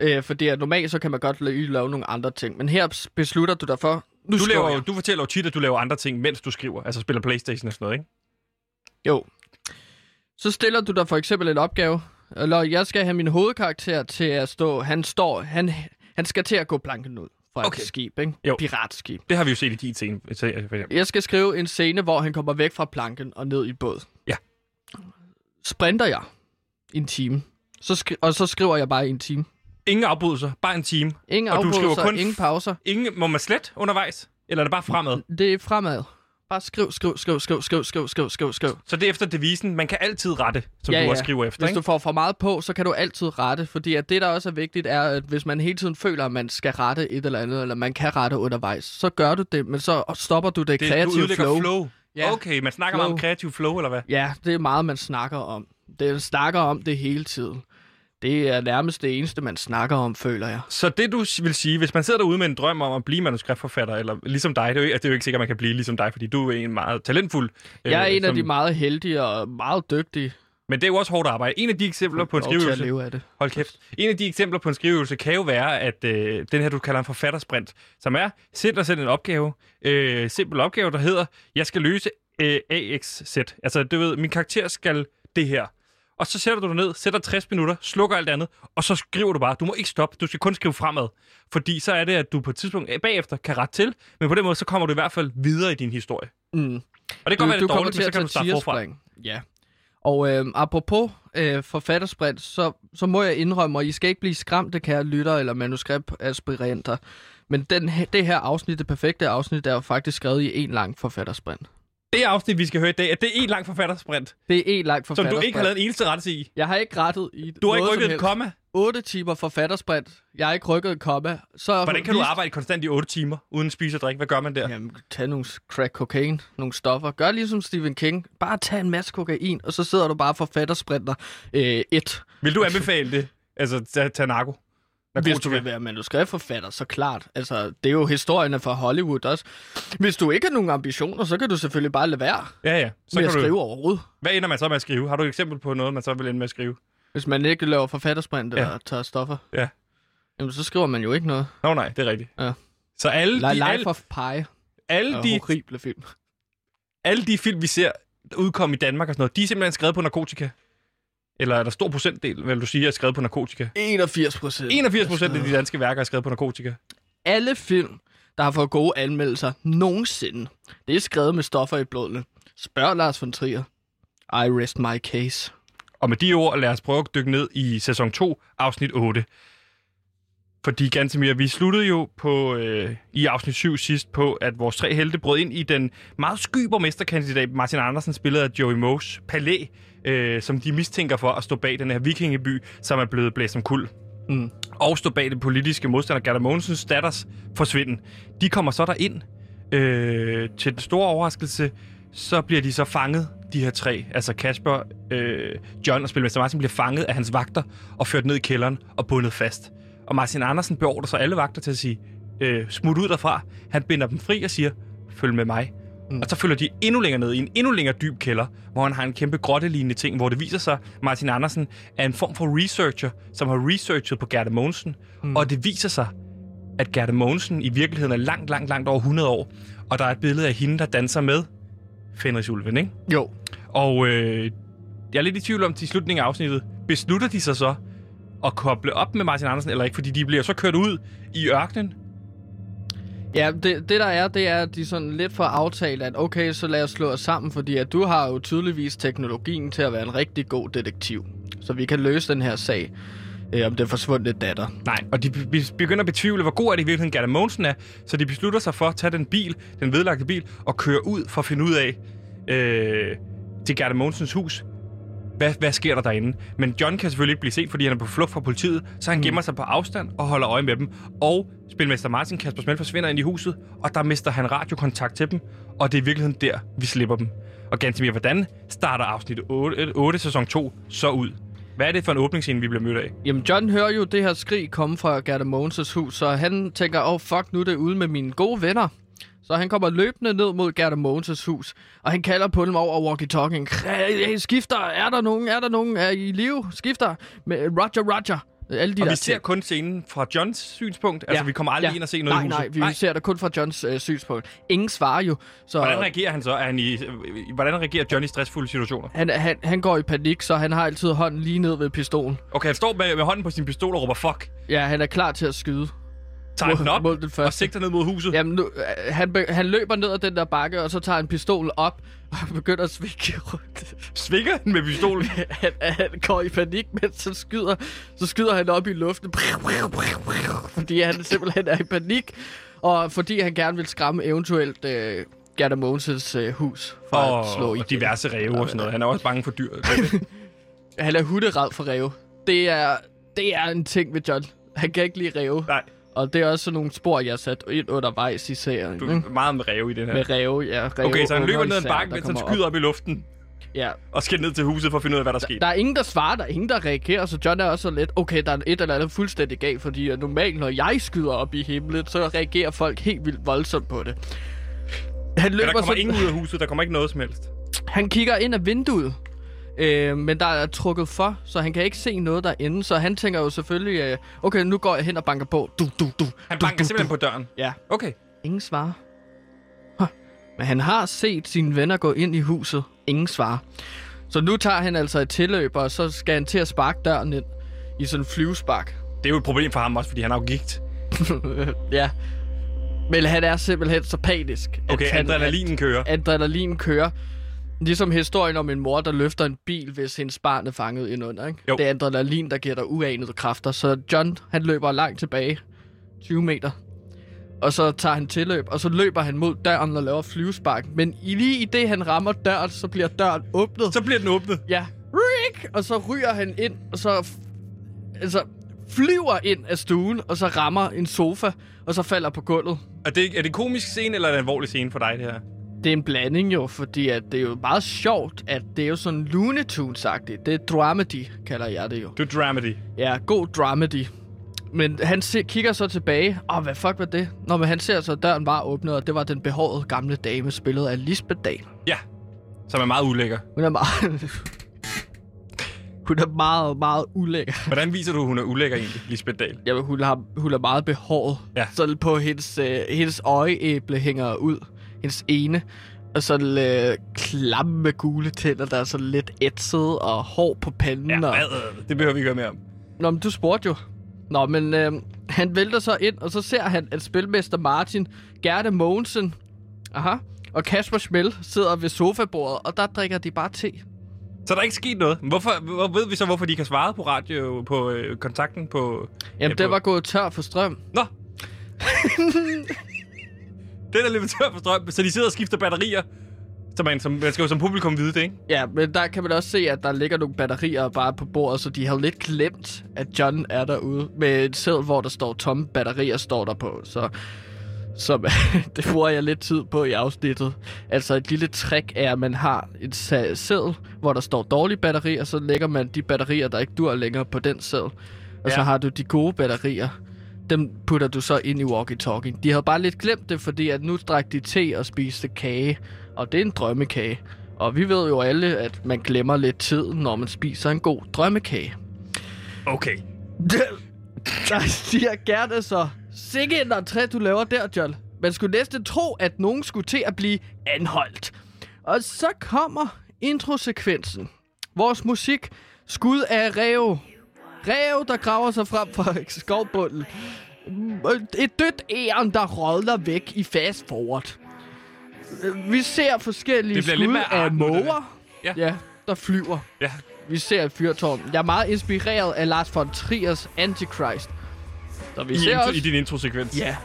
[SPEAKER 2] Ja. Øh, fordi at normalt, så kan man godt lige lave nogle andre ting. Men her beslutter du dig for, nu
[SPEAKER 1] Du,
[SPEAKER 2] skriver
[SPEAKER 1] laver, jo-
[SPEAKER 2] jeg.
[SPEAKER 1] du fortæller jo tit, at du laver andre ting, mens du skriver. Altså spiller Playstation og sådan noget, ikke?
[SPEAKER 2] Jo. Så stiller du dig for eksempel en opgave. Eller jeg skal have min hovedkarakter til at stå... Han står... Han, han skal til at gå planken ud fra okay.
[SPEAKER 1] Okay.
[SPEAKER 2] et skib, ikke?
[SPEAKER 1] Jo.
[SPEAKER 2] Piratskib.
[SPEAKER 1] Det har vi jo set i din scene. til- for eksempel.
[SPEAKER 2] Jeg skal skrive en scene, hvor han kommer væk fra planken og ned i et båd.
[SPEAKER 1] Ja.
[SPEAKER 2] Sprinter jeg en time, så skri- og så skriver jeg bare en time.
[SPEAKER 1] Ingen afbrydelser, bare en time.
[SPEAKER 2] Ingen
[SPEAKER 1] Og du skriver
[SPEAKER 2] afbrydelser,
[SPEAKER 1] kun
[SPEAKER 2] ingen
[SPEAKER 1] f-
[SPEAKER 2] pauser.
[SPEAKER 1] Ingen, må man slet undervejs? Eller er det bare fremad?
[SPEAKER 2] Det er fremad. Bare skriv, skriv, skriv, skriv, skriv, skriv, skriv, skriv, skriv.
[SPEAKER 1] Så det er efter devisen, man kan altid rette, som du også skriver efter,
[SPEAKER 2] Hvis
[SPEAKER 1] ikke?
[SPEAKER 2] du får for meget på, så kan du altid rette, fordi at det, der også er vigtigt, er, at hvis man hele tiden føler, at man skal rette et eller andet, eller man kan rette undervejs, så gør du det, men så stopper du det,
[SPEAKER 1] det, du
[SPEAKER 2] kreative
[SPEAKER 1] ødelægger
[SPEAKER 2] flow.
[SPEAKER 1] flow. flow.
[SPEAKER 2] Ja.
[SPEAKER 1] Ja. Okay, man snakker meget
[SPEAKER 2] Flow.
[SPEAKER 1] om kreativ flow, eller hvad?
[SPEAKER 2] Ja, det er meget, man snakker om. Det man snakker om det hele tiden. Det er nærmest det eneste, man snakker om, føler jeg.
[SPEAKER 1] Så det, du s- vil sige, hvis man sidder derude med en drøm om at blive manuskriptforfatter, eller ligesom dig, det er jo ikke, altså, det er jo ikke sikkert, man kan blive ligesom dig, fordi du er en meget talentfuld.
[SPEAKER 2] Jeg er
[SPEAKER 1] øh,
[SPEAKER 2] en af
[SPEAKER 1] som-
[SPEAKER 2] de meget heldige og meget dygtige
[SPEAKER 1] Men det er jo også hårdt arbejde. En af de eksempler på en
[SPEAKER 2] og til at
[SPEAKER 1] skriveøvelse...
[SPEAKER 2] leve af det.
[SPEAKER 1] Hold kæft. En af de eksempler på en skriveøvelse kan jo være, at øh, den her, du kalder en forfattersprint, som er, sæt dig selv en opgave, øh, simpel opgave, der hedder, jeg skal løse øh, AXZ. Altså, du ved, min karakter skal det her. Og så sætter du dig ned, sætter 60 minutter, slukker alt andet, og så skriver du bare. Du må ikke stoppe, du skal kun skrive fremad. Fordi så er det, at du på et tidspunkt øh, bagefter kan rette til, men på den måde, så kommer du i hvert fald videre i din historie.
[SPEAKER 2] Mm.
[SPEAKER 1] Og det kan godt være, det er dårligt, men så kan du starte forfra.
[SPEAKER 2] Ja. Og øh, apropos øh, forfattersprint, så, så må jeg indrømme, og I skal ikke blive skræmte, kære lytter eller manuskriptaspiranter, men den, he- det her afsnit, det perfekte afsnit, er jo faktisk skrevet i en lang forfattersprint.
[SPEAKER 1] Det afsnit, vi skal høre i dag, er det en lang forfattersprint,
[SPEAKER 2] Det er en lang
[SPEAKER 1] som
[SPEAKER 2] forfattersprint.
[SPEAKER 1] du ikke har lavet en eneste rettelse i.
[SPEAKER 2] Jeg har ikke rettet i
[SPEAKER 1] Du har ikke
[SPEAKER 2] noget som
[SPEAKER 1] rykket et
[SPEAKER 2] helst.
[SPEAKER 1] komma.
[SPEAKER 2] 8 timer forfattersprint. Jeg har ikke rykket et komma. Så
[SPEAKER 1] Hvordan kan du
[SPEAKER 2] viste-
[SPEAKER 1] arbejde konstant i 8 timer, uden at spise og drikke? Hvad gør man der? Ja.
[SPEAKER 2] Jamen, tag nogle crack cocaine, nogle stoffer. Gør ligesom Stephen King. Bare tag en masse kokain, og så sidder du bare og forfattersprinter øh, et.
[SPEAKER 1] Vil du anbefale det? Altså, tage, tage narko?
[SPEAKER 2] Hvis du vil være manuskriptforfatter, så klart. Altså, det er jo historien fra Hollywood også. Hvis du ikke har nogen ambitioner, så kan du selvfølgelig bare lade være
[SPEAKER 1] Ja, ja. Så
[SPEAKER 2] med
[SPEAKER 1] kan
[SPEAKER 2] at skrive
[SPEAKER 1] du...
[SPEAKER 2] overhovedet.
[SPEAKER 1] Hvad ender man så med at skrive? Har du et eksempel på noget, man så vil ende med at skrive?
[SPEAKER 2] Hvis man ikke laver forfattersprint
[SPEAKER 1] Ja.
[SPEAKER 2] eller tager stoffer.
[SPEAKER 1] Ja.
[SPEAKER 2] Jamen, så skriver man jo ikke noget.
[SPEAKER 1] Nå nej, det er rigtigt.
[SPEAKER 2] Ja.
[SPEAKER 1] Så alle,
[SPEAKER 2] Li-
[SPEAKER 1] de,
[SPEAKER 2] Life
[SPEAKER 1] alle,
[SPEAKER 2] of Pi
[SPEAKER 1] alle,
[SPEAKER 2] er
[SPEAKER 1] de,
[SPEAKER 2] horrible film.
[SPEAKER 1] alle de film, vi ser udkomme i Danmark og sådan noget, de er simpelthen skrevet på narkotika. Eller er der stor procentdel, vil du sige, er skrevet på narkotika?
[SPEAKER 2] 81 procent.
[SPEAKER 1] 81 procent af de danske værker er skrevet på narkotika.
[SPEAKER 2] alle film, der har fået gode anmeldelser nogensinde, det er skrevet med stoffer i blodene. Spørg Lars von Trier. I rest my case.
[SPEAKER 1] Og med de ord, lad os prøve at dykke ned i sæson 2, afsnit 8. Fordi, Gantemir, vi sluttede jo på, øh, i afsnit 7 sidst på, at vores tre helte brød ind i den meget sky borgmesterkandidat Martin Andersen, spillet af Joey Moes palæ, øh, som de mistænker for at stå bag den her vikingeby, som er blevet blæst som kul.
[SPEAKER 2] Mm.
[SPEAKER 1] Og stå bag det politiske modstander Gerda Mogensens datters forsvinden. De kommer så derind. Øh, til den store overraskelse, så bliver de så fanget, de her tre. Altså Kasper, øh, John og Spilmester Martin bliver fanget af hans vagter og ført ned i kælderen og bundet fast. Og Martin Andersen beordrer så alle vagter til at sige, øh, smut ud derfra. Han binder dem fri og siger, følg med mig. Mm. Og så følger de endnu længere ned i en endnu længere dyb kælder, hvor han har en kæmpe grottelignende ting, hvor det viser sig, Martin Andersen er en form for researcher, som har researchet på Gerda Mogensen. Mm. Og det viser sig, at Gerda Mogensen i virkeligheden er langt, langt, langt over 100 år. Og der er et billede af hende, der danser med Fenrisulven, ikke?
[SPEAKER 2] Jo.
[SPEAKER 1] Og øh, jeg er lidt i tvivl om, til slutningen af afsnittet, beslutter de sig så at koble op med Martin Andersen eller ikke? Fordi de bliver så kørt ud i ørkenen.
[SPEAKER 2] Ja, det, det der er, det er, at de sådan lidt for aftalt, at okay, så lad os slå os sammen, fordi at du har jo tydeligvis teknologien til at være en rigtig god detektiv. Så vi kan løse den her sag øh, om den forsvundne datter.
[SPEAKER 1] Nej, og de be- be- begynder at betvivle, hvor god er det i virkeligheden Gerda Mogensen er. Så de beslutter sig for at tage den bil, den vedlagte bil, og køre ud for at finde ud af øh, til Gerda Mogensens hus. Hvad, hvad sker der derinde? Men John kan selvfølgelig ikke blive set, fordi han er på flugt fra politiet, så han gemmer sig på afstand og holder øje med dem. Og spilmester Martin Kasper Smelt forsvinder ind i huset, og der mister han radiokontakt til dem, og det er i virkeligheden der, vi slipper dem. Og Gantemir, hvordan starter afsnit 8, 8 sæson 2 så ud? Hvad er det for en åbningsscene, vi bliver mødt af?
[SPEAKER 2] Jamen, John hører jo det her skrig komme fra Gerda Mogens' hus, så han tænker, åh oh, fuck, nu er det ude med mine gode venner. Så han kommer løbende ned mod Gerda Mogens' hus, og han kalder på dem over walkie-talking. Hey, skifter, er der nogen, er der nogen, er I i live? Skifter, med Roger, Roger. Alle de
[SPEAKER 1] Og
[SPEAKER 2] der
[SPEAKER 1] vi ser
[SPEAKER 2] ting.
[SPEAKER 1] kun scenen fra Johns synspunkt. Altså,
[SPEAKER 2] Ja.
[SPEAKER 1] vi kommer aldrig ind og se noget
[SPEAKER 2] nej,
[SPEAKER 1] i huset.
[SPEAKER 2] Nej, vi nej. ser det kun fra Johns øh, synspunkt. Ingen svarer jo, så
[SPEAKER 1] Hvordan reagerer han så? Er han i, øh, hvordan reagerer John i stressfulde situationer?
[SPEAKER 2] han, han, han går i panik, så han har altid hånden lige ned ved pistolen.
[SPEAKER 1] Okay, han står med, med hånden på sin pistol og råber fuck.
[SPEAKER 2] Ja, han er klar til at skyde.
[SPEAKER 1] Tager
[SPEAKER 2] Mod-
[SPEAKER 1] den op
[SPEAKER 2] mod den første.
[SPEAKER 1] og sigter ned mod huset.
[SPEAKER 2] Jamen, nu, øh, han, be- han løber ned ad den der bakke, og så tager han pistolen op og begynder at svikke rundt.
[SPEAKER 1] Svinger den med pistolen.
[SPEAKER 2] han, han går i panik, men så skyder, så skyder han op i luften, fordi han simpelthen er i panik, og fordi han gerne vil skræmme eventuelt øh, Gerda Mogensens øh, hus for
[SPEAKER 1] og,
[SPEAKER 2] at slå i
[SPEAKER 1] og diverse ræve og sådan noget. Han er også bange for dyr.
[SPEAKER 2] Han er hutterad for ræve. Det er, det er en ting ved John. Han kan ikke lide ræve.
[SPEAKER 1] Nej,
[SPEAKER 2] Og det er også sådan nogle spor, jeg har sat ind undervejs i serien.
[SPEAKER 1] du
[SPEAKER 2] ikke?
[SPEAKER 1] er meget med ræve i den her.
[SPEAKER 2] Med ræve, ja. Ræve
[SPEAKER 1] Okay, så han løber ned ad en
[SPEAKER 2] især,
[SPEAKER 1] bakke,
[SPEAKER 2] der
[SPEAKER 1] mens han
[SPEAKER 2] kommer
[SPEAKER 1] skyder op i luften
[SPEAKER 2] Ja,
[SPEAKER 1] og skal ned til huset for at finde ud af, hvad der skete.
[SPEAKER 2] Der er ingen, der svarer, der er ingen, der reagerer, så John er også sådan lidt, okay, der er et eller andet fuldstændig galt, fordi øh, normalt, når jeg skyder op i himlen, så reagerer folk helt vildt voldsomt på det. Han
[SPEAKER 1] Men der
[SPEAKER 2] løber
[SPEAKER 1] kommer
[SPEAKER 2] sådan,
[SPEAKER 1] ingen ud af huset, der kommer ikke noget som helst.
[SPEAKER 2] han kigger ind ad vinduet, øh, men der er trukket for, så han kan ikke se noget derinde, så han tænker jo selvfølgelig, øh, okay, nu går jeg hen og banker på, du, du, du.
[SPEAKER 1] Han
[SPEAKER 2] du,
[SPEAKER 1] banker
[SPEAKER 2] du,
[SPEAKER 1] simpelthen på døren.
[SPEAKER 2] Ja.
[SPEAKER 1] Okay.
[SPEAKER 2] Ingen svarer. Huh. Men han har set sine venner gå ind i huset. Ingen svarer. Så nu tager han altså et tilløb, og så skal han til at sparke døren ind i sådan en flyvespark.
[SPEAKER 1] Det er jo et problem for ham også, fordi han har jo gigt.
[SPEAKER 2] ja. Men han er simpelthen så panisk. at
[SPEAKER 1] Okay,
[SPEAKER 2] han-
[SPEAKER 1] adrenalinen kører.
[SPEAKER 2] At adrenalin kører. Ligesom historien om en mor, der løfter en bil, hvis hendes barn er fanget indunder. Ikke?
[SPEAKER 1] Jo.
[SPEAKER 2] Det er adrenalin, der giver dig uanede kræfter. Så John, han løber langt tilbage. 20 meter. Og så tager han tilløb, og så løber han mod døren og laver flyvespark. Men i- lige i det, han rammer døren, så bliver døren åbnet.
[SPEAKER 1] Så bliver den åbnet.
[SPEAKER 2] Ja. Rick! Og så ryger han ind, og så f- altså, flyver ind af stuen, og så rammer en sofa, og så falder på gulvet.
[SPEAKER 1] Er det, er det en komisk scene, eller er det en alvorlig scene for dig, det her?
[SPEAKER 2] Det er en blanding jo, fordi at det er jo meget sjovt, at det er jo sådan Looney tunes -agtigt. Det er dramedy, kalder jeg det jo.
[SPEAKER 1] Du dramedy.
[SPEAKER 2] Ja, god dramedy. Men han se, kigger så tilbage. Åh, oh, hvad fuck var det? Nå, men han ser så, at døren var åbnet, og det var den behårede gamle dame, spillet af Lisbeth Dahl.
[SPEAKER 1] Ja. Som er meget ulækker.
[SPEAKER 2] Hun er meget... hun er meget, meget ulækker.
[SPEAKER 1] Hvordan viser du, hun er ulækker egentlig, Lisbeth Dahl?
[SPEAKER 2] Jamen, hun, har, hun er meget behåret.
[SPEAKER 1] Ja.
[SPEAKER 2] Så på hendes, øh, hendes øjeæble hænger ud. Hendes ene. Og så øh, klamme gule tænder, der er så lidt ætset og hår på panden. og...
[SPEAKER 1] Hvad? øh, Det behøver vi ikke høre mere om.
[SPEAKER 2] Nå, men du spurgte jo. Nå, men øh, han vælter så ind, og så ser han, at spilmester Martin, Gerda Mogensen aha, og Kasper Schmel sidder ved sofabordet, og der drikker de bare te.
[SPEAKER 1] Så der er ikke sket noget. Hvorfor, hvor ved vi så, hvorfor de ikke har svaret på radio, på øh, kontakten, på... øh,
[SPEAKER 2] Jamen,
[SPEAKER 1] på-
[SPEAKER 2] det var gået tør for strøm.
[SPEAKER 1] Nå! det er leverandør for strøm, så de sidder og skifter batterier. Så man, som, man skal jo som publikum vide det, ikke?
[SPEAKER 2] Ja, men der kan man også se, at der ligger nogle batterier bare på bordet, så de har lidt glemt, at John er derude med et sæd, hvor der står tomme batterier, står der på. Så, så det bruger jeg lidt tid på i afsnittet. Altså et lille trick er, at man har et sa- sæd, hvor der står dårlige batterier, så lægger man de batterier, der ikke dur længere på den sæd. Og ja. så
[SPEAKER 1] Ja.
[SPEAKER 2] har du de gode batterier. Dem putter du så ind i walkie-talkie. De havde bare lidt glemt det, fordi at nu drak de te og spiste kage. Og det er en drømmekage. Og vi ved jo alle, at man glemmer lidt tid, når man spiser en god drømmekage.
[SPEAKER 1] Okay.
[SPEAKER 2] Der siger Gerda så, sikke en entré, du laver der, John. Man skulle næsten tro, at nogen skulle til at blive anholdt. Og så kommer introsekvensen. Vores musik, skud af ræve. Ræve, der graver sig frem fra skovbunden. Et dødt æren, der rodler væk i fast forward. Vi ser forskellige
[SPEAKER 1] Det bliver lidt
[SPEAKER 2] skud
[SPEAKER 1] mere
[SPEAKER 2] af
[SPEAKER 1] art nu, det
[SPEAKER 2] måger,
[SPEAKER 1] der.
[SPEAKER 2] ja, der flyver.
[SPEAKER 1] Ja.
[SPEAKER 2] Vi ser et fyrtårn. Jeg er meget inspireret af Lars von Triers Antichrist. Så vi
[SPEAKER 1] I,
[SPEAKER 2] ser
[SPEAKER 1] intro,
[SPEAKER 2] også...
[SPEAKER 1] I din introsekvens.
[SPEAKER 2] Ja.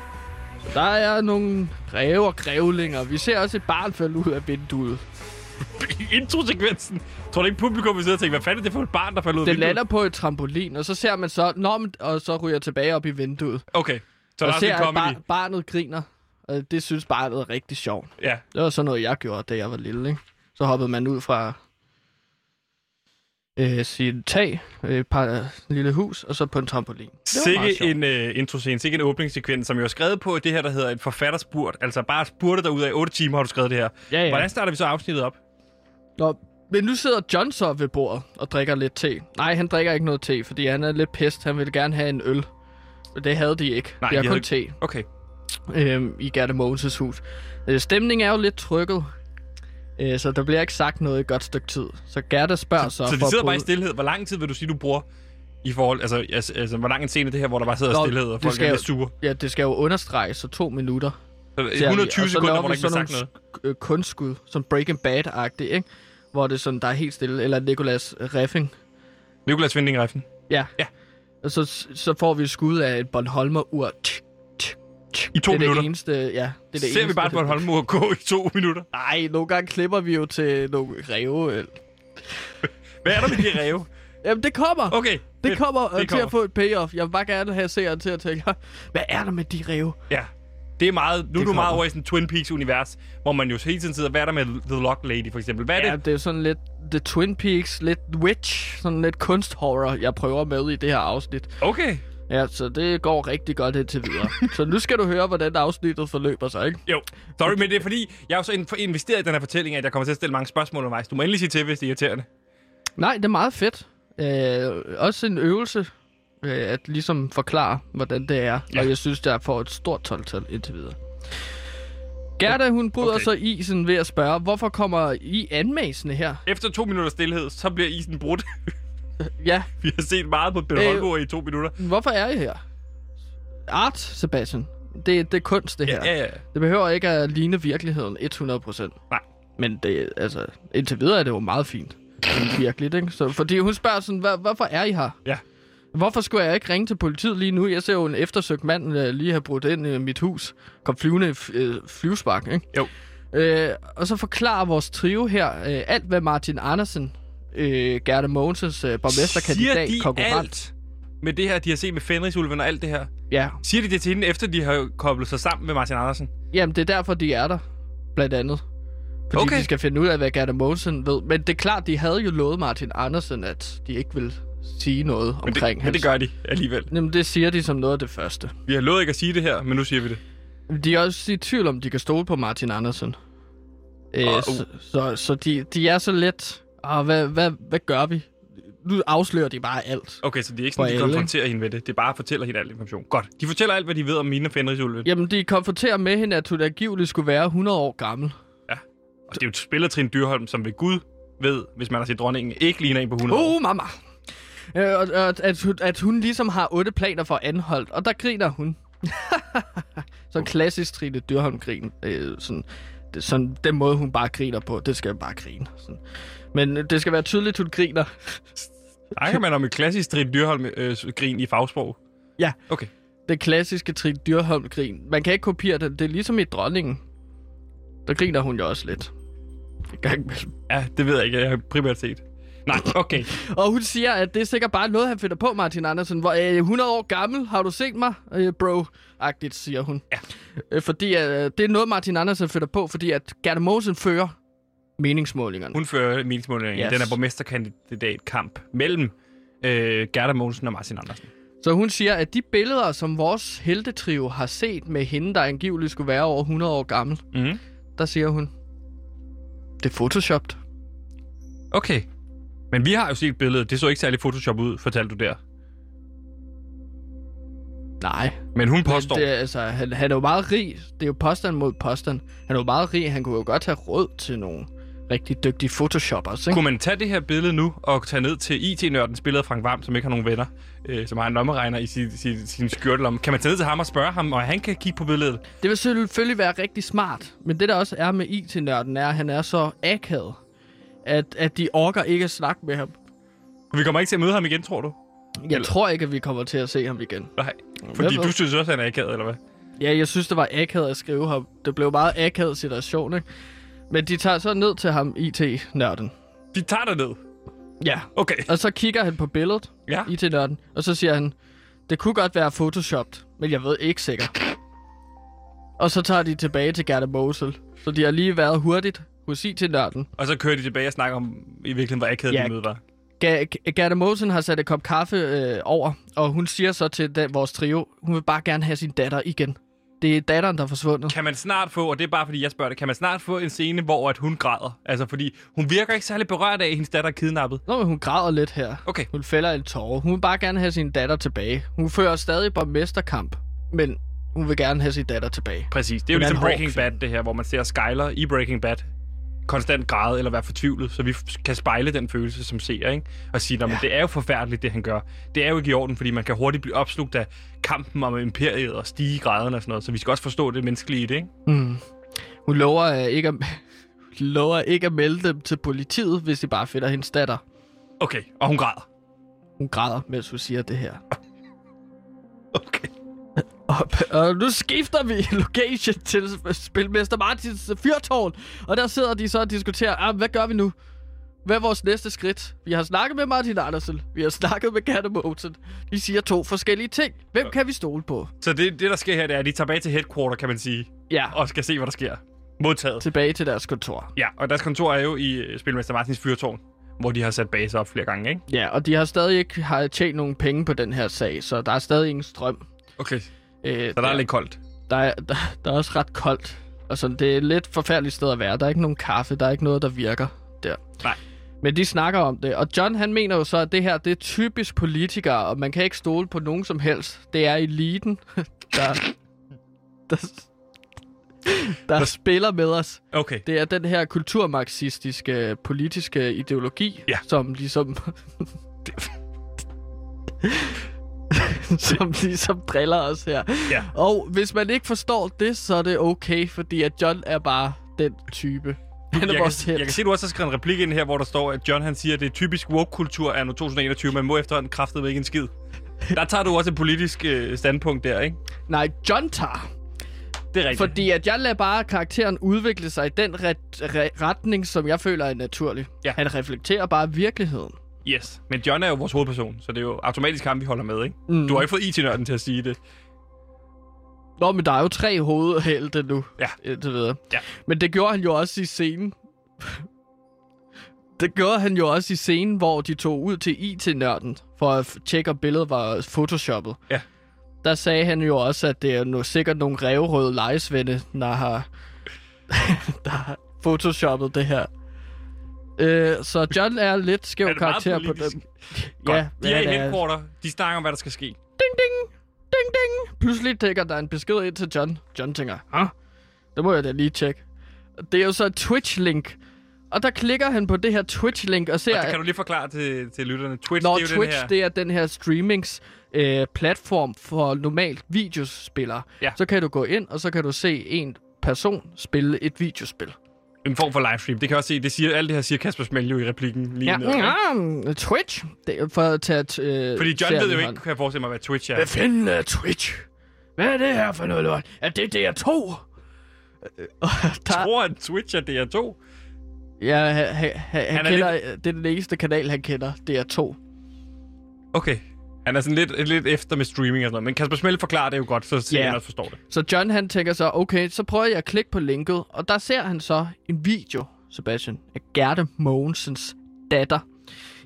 [SPEAKER 2] Så der er nogle ræve og grævlinger. Vi ser også et barn falde ud af vinduet.
[SPEAKER 1] I introsekvensen. Tror du ikke, publikum vil sidde og tænke, hvad fanden er det for et barn, der falder ud af
[SPEAKER 2] Det
[SPEAKER 1] vinduet?
[SPEAKER 2] lander på et trampolin, og så ser man så... Nå, men, og så ryger jeg tilbage op i vinduet.
[SPEAKER 1] Okay. Så der
[SPEAKER 2] og
[SPEAKER 1] er også
[SPEAKER 2] ser,
[SPEAKER 1] en
[SPEAKER 2] at
[SPEAKER 1] comedy.
[SPEAKER 2] bar- barnet griner. Og det synes barnet er rigtig sjovt.
[SPEAKER 1] Ja.
[SPEAKER 2] Det var sådan noget, jeg gjorde, da jeg var lille, ikke? Så hoppede man ud fra øh, sit tag, øh, et par, lille hus, og så på en trampolin. Det var meget
[SPEAKER 1] Sikke
[SPEAKER 2] sjovt.
[SPEAKER 1] en uh, introscene, sikke en åbningssekvens, som jo er skrevet på det her, der hedder et forfatterspurt. Altså bare spurte dig ud af 8 timer, har du skrevet det her.
[SPEAKER 2] Ja, ja.
[SPEAKER 1] Hvordan starter vi så afsnittet op?
[SPEAKER 2] Nå, Men nu sidder John så ved bordet og drikker lidt te. Nej, han drikker ikke noget te, fordi han er lidt pest. Han ville gerne have en øl. Men det havde de ikke.
[SPEAKER 1] Nej,
[SPEAKER 2] Nej, de har
[SPEAKER 1] de
[SPEAKER 2] kun
[SPEAKER 1] havde
[SPEAKER 2] te
[SPEAKER 1] Okay.
[SPEAKER 2] øh, i Gerda Mogens' hus. Øh, stemningen er jo lidt trykket, øh, så der bliver ikke sagt noget i et godt stykke tid. Så Gerda spørger så...
[SPEAKER 1] Så
[SPEAKER 2] for
[SPEAKER 1] de
[SPEAKER 2] at
[SPEAKER 1] sidder bare i
[SPEAKER 2] bryde-
[SPEAKER 1] stillhed. Hvor lang tid vil du sige, du bruger i forhold... Altså, altså, altså hvor lang en scene er det her, hvor der bare sidder
[SPEAKER 2] Nå,
[SPEAKER 1] Nå, stillhed, og
[SPEAKER 2] det
[SPEAKER 1] folk
[SPEAKER 2] skal
[SPEAKER 1] er
[SPEAKER 2] jo-
[SPEAKER 1] lidt sure? Øh,
[SPEAKER 2] Ja, det skal jo understreges, så to minutter.
[SPEAKER 1] Så
[SPEAKER 2] ser vi.
[SPEAKER 1] 120
[SPEAKER 2] Og så
[SPEAKER 1] sekunder,
[SPEAKER 2] laver
[SPEAKER 1] hvor der
[SPEAKER 2] vi
[SPEAKER 1] ikke bliver
[SPEAKER 2] sådan
[SPEAKER 1] sagt noget.
[SPEAKER 2] nogle sk- øh, kunstskud, som Breaking Bad-agtigt, ikke? Hvor det er sådan, der er helt stille. Eller Nicolas Reffing.
[SPEAKER 1] Nikolas Vinding Reffen.
[SPEAKER 2] Ja.
[SPEAKER 1] Ja.
[SPEAKER 2] Og så, så får vi et skud af et Bornholmer-ur. Tsk, tsk, tsk.
[SPEAKER 1] I to
[SPEAKER 2] det er
[SPEAKER 1] minutter.
[SPEAKER 2] Det eneste, ja, det er det
[SPEAKER 1] Ser
[SPEAKER 2] eneste,
[SPEAKER 1] vi bare et
[SPEAKER 2] det-
[SPEAKER 1] Bornholmur gå i to minutter.
[SPEAKER 2] Nej, nogle gange klipper vi jo til nogle ræve. øh.
[SPEAKER 1] Hvad er der med de ræve?
[SPEAKER 2] Jamen, det kommer.
[SPEAKER 1] Okay.
[SPEAKER 2] Det kommer det til
[SPEAKER 1] kommer.
[SPEAKER 2] at få et payoff. Jeg vil bare gerne have seeren til at tænke, hvad er der med de ræve?
[SPEAKER 1] Ja. Det er meget, nu er du
[SPEAKER 2] kommer.
[SPEAKER 1] meget over i sådan Twin Peaks-univers, hvor man jo hele tiden sidder, hvad er der med The Lock Lady, for eksempel? Hvad er
[SPEAKER 2] Ja,
[SPEAKER 1] det?
[SPEAKER 2] det er jo sådan lidt The Twin Peaks, lidt Witch, sådan lidt kunsthorror, jeg prøver med i det her afsnit.
[SPEAKER 1] Okay.
[SPEAKER 2] Ja, så det går rigtig godt indtil videre. så nu skal du høre, hvordan afsnittet forløber sig, ikke?
[SPEAKER 1] Jo, sorry, men det er fordi, jeg er jo så in- investeret i den her fortælling, at jeg kommer til at stille mange spørgsmål undervejs. Du må endelig sige til, hvis det er irriterende.
[SPEAKER 2] Nej, det er meget fedt. Øh, også en øvelse øh, at ligesom forklare, hvordan det er. Ja. Og jeg synes, jeg får et stort tolvtal indtil videre. Gerda, hun bryder okay.
[SPEAKER 1] Okay.
[SPEAKER 2] så isen ved at spørge, hvorfor kommer I anmæsende her?
[SPEAKER 1] Efter to minutter stillhed, så bliver isen brudt.
[SPEAKER 2] Ja,
[SPEAKER 1] Vi har set meget på Ben
[SPEAKER 2] Øh.
[SPEAKER 1] Holmgaard i to minutter.
[SPEAKER 2] Hvorfor er I her? Art, Sebastian. Det, det er kunst, det her.
[SPEAKER 1] Ja, ja.
[SPEAKER 2] Det behøver ikke at ligne virkeligheden 100%.
[SPEAKER 1] Nej.
[SPEAKER 2] Men det, altså, indtil videre er det jo meget fint. Sådan Virkeligt, ikke? Så, fordi hun spørger sådan, "Hvor- hvorfor er I her?
[SPEAKER 1] Ja.
[SPEAKER 2] Hvorfor skulle jeg ikke ringe til politiet lige nu? Jeg ser jo en eftersøgt mand øh, lige have brudt ind i mit hus. Kom flyvende i f- øh, flyvespark, ikke?
[SPEAKER 1] Jo.
[SPEAKER 2] Øh, og så forklarer vores trio her øh, alt, hvad Martin Andersen, øh, Gerda Mogensens øh, borgmesterkandidat,
[SPEAKER 1] Siger de
[SPEAKER 2] konkurrent.
[SPEAKER 1] alt med det her, de har set med Fenrisulven og alt det her?
[SPEAKER 2] Ja,
[SPEAKER 1] Siger de det til hende, efter de har koblet sig sammen med Martin Andersen?
[SPEAKER 2] Jamen, det er derfor, de er der, blandt andet. Fordi
[SPEAKER 1] Okay.
[SPEAKER 2] okay. de skal finde ud af, hvad Gerda Mogensen ved. Men det er klart, de havde jo lovet Martin Andersen, at de ikke ville sige noget
[SPEAKER 1] Men det,
[SPEAKER 2] omkring
[SPEAKER 1] men det gør de alligevel.
[SPEAKER 2] Jamen, det siger de som noget af det første.
[SPEAKER 1] Vi har lovet ikke at sige det her, men nu siger vi det.
[SPEAKER 2] De er også i tvivl om, de kan stole på Martin Andersen. Øh,
[SPEAKER 1] Åh,
[SPEAKER 2] så, så, så de, de er så let. Og hvad, hvad, hvad gør vi? Nu afslører de bare alt.
[SPEAKER 1] Okay, så det er ikke
[SPEAKER 2] For
[SPEAKER 1] sådan, de
[SPEAKER 2] alle, ikke?
[SPEAKER 1] konfronterer hende med det. Det er bare fortæller hende al information. Godt. De fortæller alt, hvad de ved om mine og Fenrisulven. Ja.
[SPEAKER 2] Jamen, de konfronterer med hende, at hun angiveligt skulle være 100 år gammel.
[SPEAKER 1] Og det er jo et spiller Trine Dyrholm, som ved Gud ved, hvis man har set dronningen, ikke ligner en på 100 år.
[SPEAKER 2] Uh, mamma. Øh, og, og, at, hun- at hun ligesom har otte planer for anholdt, og der griner hun. sådan klassisk Trine Dyrholm-grin. Øh, sådan, det, sådan, den måde, hun bare griner på, det skal jeg bare grine. Sådan. Men øh, det skal være tydeligt, hun griner.
[SPEAKER 1] Snakker man om et klassisk Trine Dyrholm-grin i fagsprog?
[SPEAKER 2] Ja.
[SPEAKER 1] Okay.
[SPEAKER 2] Det klassiske Trine Dyrholm-grin. Man kan ikke kopiere den. Det er ligesom i Dronningen. Der griner hun jo også lidt. En gang imellem.
[SPEAKER 1] Ja, det ved jeg ikke. Jeg har primært set. Nej, okay.
[SPEAKER 2] Og hun siger, at det er sikkert bare noget, han finder på, Martin Andersen. Hvor, øh, 100 år gammel, har du set mig, øh, bro-agtigt, siger hun. Ja. Øh, fordi øh, det er noget, Martin Andersen finder på, fordi at Gerda Mosen fører meningsmålingerne.
[SPEAKER 1] Hun fører meningsmålingen yes.
[SPEAKER 2] Yes.
[SPEAKER 1] den her borgmesterkandidatkamp mellem øh, Gerda Mogensen og Martin Andersen.
[SPEAKER 2] Så hun siger, at de billeder, som vores heltetrio har set med hende, der angiveligt skulle være over 100 år gammel,
[SPEAKER 1] Mhm.
[SPEAKER 2] der siger hun, det er photoshopped.
[SPEAKER 1] Okay. Men vi har jo set billedet. Det så ikke særlig Photoshop ud, fortalte du der.
[SPEAKER 2] Nej,
[SPEAKER 1] Men hun
[SPEAKER 2] men
[SPEAKER 1] påstår...
[SPEAKER 2] det, er, altså, han, han er jo meget rig. Det er jo påstand mod påstand. Han er jo meget rig. Han kunne jo godt have råd til nogle rigtig dygtige photoshoppers, ikke?
[SPEAKER 1] Kunne man tage det her billede nu og tage ned til IT-nørden, spillet af Frank Vam, som ikke har nogen venner, øh, som har en lommeregner i sin, sin, sin skjortelom? Kan man tage ned til ham og spørge ham, og han kan kigge på billedet?
[SPEAKER 2] Det vil selvfølgelig være rigtig smart, men det der også er med IT-nørden er, at han er så akavet, at, at de orker ikke at snakke med ham.
[SPEAKER 1] Vi kommer ikke til at møde ham igen, tror du?
[SPEAKER 2] Jeg
[SPEAKER 1] Eller-
[SPEAKER 2] tror ikke, at vi kommer til at se ham igen.
[SPEAKER 1] Nej. Fordi
[SPEAKER 2] ved?
[SPEAKER 1] du synes også, han er akavet, eller hvad?
[SPEAKER 2] Ja, jeg synes, det var akavet at skrive ham. Det blev meget akavet situation, ikke? Men de tager så ned til ham, IT-nørden.
[SPEAKER 1] De tager dig ned.
[SPEAKER 2] Ja.
[SPEAKER 1] Okay.
[SPEAKER 2] Og så kigger han på billedet,
[SPEAKER 1] Ja.
[SPEAKER 2] IT-nørden, og så siger han, det kunne godt være photoshopped, men jeg ved ikke sikkert. Og så tager de tilbage til Gerda Mosel. Så de har lige været hurtigt hos IT-nørden.
[SPEAKER 1] Og så kører de tilbage og snakker om, i virkeligheden, hvor akavet
[SPEAKER 2] Ja.
[SPEAKER 1] ja. det møde var.
[SPEAKER 2] Ga- G- Gerda Mosen har sat et kop kaffe øh, over, og hun siger så til den, vores trio, hun vil bare gerne have sin datter igen. Det er datteren, der er forsvundet.
[SPEAKER 1] Kan man snart få, og det er bare fordi, jeg spørger det, kan man snart få en scene, hvor at hun græder? Altså, fordi hun virker ikke særlig berørt af, at hendes datter er kidnappet.
[SPEAKER 2] Nå, men hun græder lidt her.
[SPEAKER 1] Okay.
[SPEAKER 2] Hun fælder en tårer. Hun vil bare gerne have sin datter tilbage. Hun fører stadig borgmesterkamp, men hun vil gerne have sin datter tilbage.
[SPEAKER 1] Præcis. Det er jo
[SPEAKER 2] Hun er
[SPEAKER 1] ligesom
[SPEAKER 2] en hård
[SPEAKER 1] Breaking Bad, det her, hvor man ser Skyler i Breaking Bad konstant græde eller være fortvivlet, så vi f- kan spejle den følelse som ser, ikke? Og sige, at ja. det er jo forfærdeligt, det han gør. Det er jo ikke i orden, fordi man kan hurtigt blive opslugt af kampen om imperiet og stige i græderne og sådan noget, så vi skal også forstå det menneskelige i det, ikke?
[SPEAKER 2] Hun lover øh, ikke at, hun lover ikke at melde dem til politiet, hvis de bare finder hendes datter.
[SPEAKER 1] Okay, og hun græder.
[SPEAKER 2] Hun græder, mens hun siger det her.
[SPEAKER 1] Okay.
[SPEAKER 2] op. Og nu skifter vi location til Spilmester Martins øh, fyrtårn. Og der sidder de så og diskuterer, ah, hvad gør vi nu? Hvad er vores næste skridt? Vi har snakket med Martin Andersen. Vi har snakket med Gerne Mogensen. De siger to forskellige ting. Hvem kan vi stole på?
[SPEAKER 1] Så det, det, der sker her, det er, at de tager bag til headquarter, kan man sige,
[SPEAKER 2] Ja, og
[SPEAKER 1] og skal se, hvad der sker. Modtaget.
[SPEAKER 2] tilbage til deres kontor.
[SPEAKER 1] Ja, og deres kontor er jo i øh, Spilmester Martins fyrtårn, hvor de har sat baser op flere gange, ikke?
[SPEAKER 2] Ja, og de har stadig ikke har tjent nogen penge på den her sag, så der er stadig ingen strøm.
[SPEAKER 1] Okay.
[SPEAKER 2] Øh,
[SPEAKER 1] Så der er lidt koldt.
[SPEAKER 2] der, er, der, der er også ret koldt. Og sådan, det er et lidt forfærdeligt sted at være. Der er ikke nogen kaffe, der er ikke noget, der virker der.
[SPEAKER 1] Nej.
[SPEAKER 2] Men de snakker om det, og John han mener jo så, at det her det er typisk politikere, og man kan ikke stole på nogen som helst. Det er eliten, der, der, der spiller med os.
[SPEAKER 1] Okay.
[SPEAKER 2] Det er den her kulturmarxistiske politiske ideologi,
[SPEAKER 1] Ja.
[SPEAKER 2] som ligesom... som ligesom driller os her.
[SPEAKER 1] Ja.
[SPEAKER 2] Og hvis man ikke forstår det, så er det okay, fordi at John er bare den type. Han er
[SPEAKER 1] jeg,
[SPEAKER 2] vores
[SPEAKER 1] kan, jeg
[SPEAKER 2] helt.
[SPEAKER 1] kan se, du også har skrevet en replik ind her, hvor der står, at John han siger, at det er typisk woke-kultur er nu 2021, men må efterhånden kraftedeme ikke en skid. Der tager du også et politisk øh, standpunkt der, ikke?
[SPEAKER 2] Nej, John tager.
[SPEAKER 1] Det er rigtigt.
[SPEAKER 2] Fordi at jeg lader bare karakteren udvikle sig i den ret- re- retning, som jeg føler er naturlig.
[SPEAKER 1] Ja.
[SPEAKER 2] Han reflekterer bare virkeligheden.
[SPEAKER 1] Yes. Men John er jo vores hovedperson, så det er jo automatisk ham, vi holder med, ikke?
[SPEAKER 2] Mm.
[SPEAKER 1] Du har ikke fået IT-nørden til at sige det.
[SPEAKER 2] Nå, men der er jo tre hovedhelte nu.
[SPEAKER 1] Ja.
[SPEAKER 2] Indtil videre.
[SPEAKER 1] Ja.
[SPEAKER 2] Men det gjorde han jo også i scenen. det gjorde han jo også i scenen, hvor de tog ud til IT-nørden, for at f- tjekke, om billedet var photoshoppet.
[SPEAKER 1] Ja.
[SPEAKER 2] Der sagde han jo også, at det er no, sikkert nogle revrøde lejesvende, der har, der har photoshoppet det her. Øh, så John er lidt skæv
[SPEAKER 1] Er det meget
[SPEAKER 2] karakter på
[SPEAKER 1] politisk?
[SPEAKER 2] dem.
[SPEAKER 1] Godt.
[SPEAKER 2] Ja,
[SPEAKER 1] de er
[SPEAKER 2] ja,
[SPEAKER 1] i
[SPEAKER 2] det er-
[SPEAKER 1] headquarter. De snakker om, hvad der skal ske.
[SPEAKER 2] Ding, ding. Ding, ding. Pludselig tækker der en besked ind til John. John tænker, Hå? Det må jeg da lige tjekke. Det er jo så et Twitch-link. Og der klikker han på det her Twitch-link og ser...
[SPEAKER 1] Og det kan du lige forklare til, til lytterne. Twitch,
[SPEAKER 2] Når
[SPEAKER 1] det er jo
[SPEAKER 2] Twitch,
[SPEAKER 1] den her...
[SPEAKER 2] det er den her streamings øh, platform for normalt videospillere,
[SPEAKER 1] Ja.
[SPEAKER 2] så kan du gå ind, og så kan du se en person spille et videospil.
[SPEAKER 1] En form for livestream. Det kan jeg også se. Det siger, alt det her siger Kasper Smell jo i replikken lige
[SPEAKER 2] Ja,
[SPEAKER 1] nu. ikke?
[SPEAKER 2] mm, Twitch. Det er for at tage... t- Øh,
[SPEAKER 1] Fordi John
[SPEAKER 2] serien
[SPEAKER 1] ved
[SPEAKER 2] i
[SPEAKER 1] jo
[SPEAKER 2] hånden.
[SPEAKER 1] ikke, kan jeg forestille mig, hvad Twitch er.
[SPEAKER 2] Hvad fanden er Twitch? Hvad er det her for noget lort? Er det DR2? Øh, og
[SPEAKER 1] Jeg
[SPEAKER 2] der,
[SPEAKER 1] tror, at Twitch er DR2.
[SPEAKER 2] Ja, han, han, han,
[SPEAKER 1] Han
[SPEAKER 2] han
[SPEAKER 1] er
[SPEAKER 2] kender, det er den eneste kanal, han kender, det er to.
[SPEAKER 1] Okay. Han er sådan lidt, lidt efter med streaming og sådan noget, men Kasper Smell forklarer det jo godt, så ser
[SPEAKER 2] Ja.
[SPEAKER 1] yeah. også forstår det.
[SPEAKER 2] Så John han tænker så, okay, så prøver jeg at klikke på linket, og der ser han så en video, Sebastian, af Gerte Mogensens datter.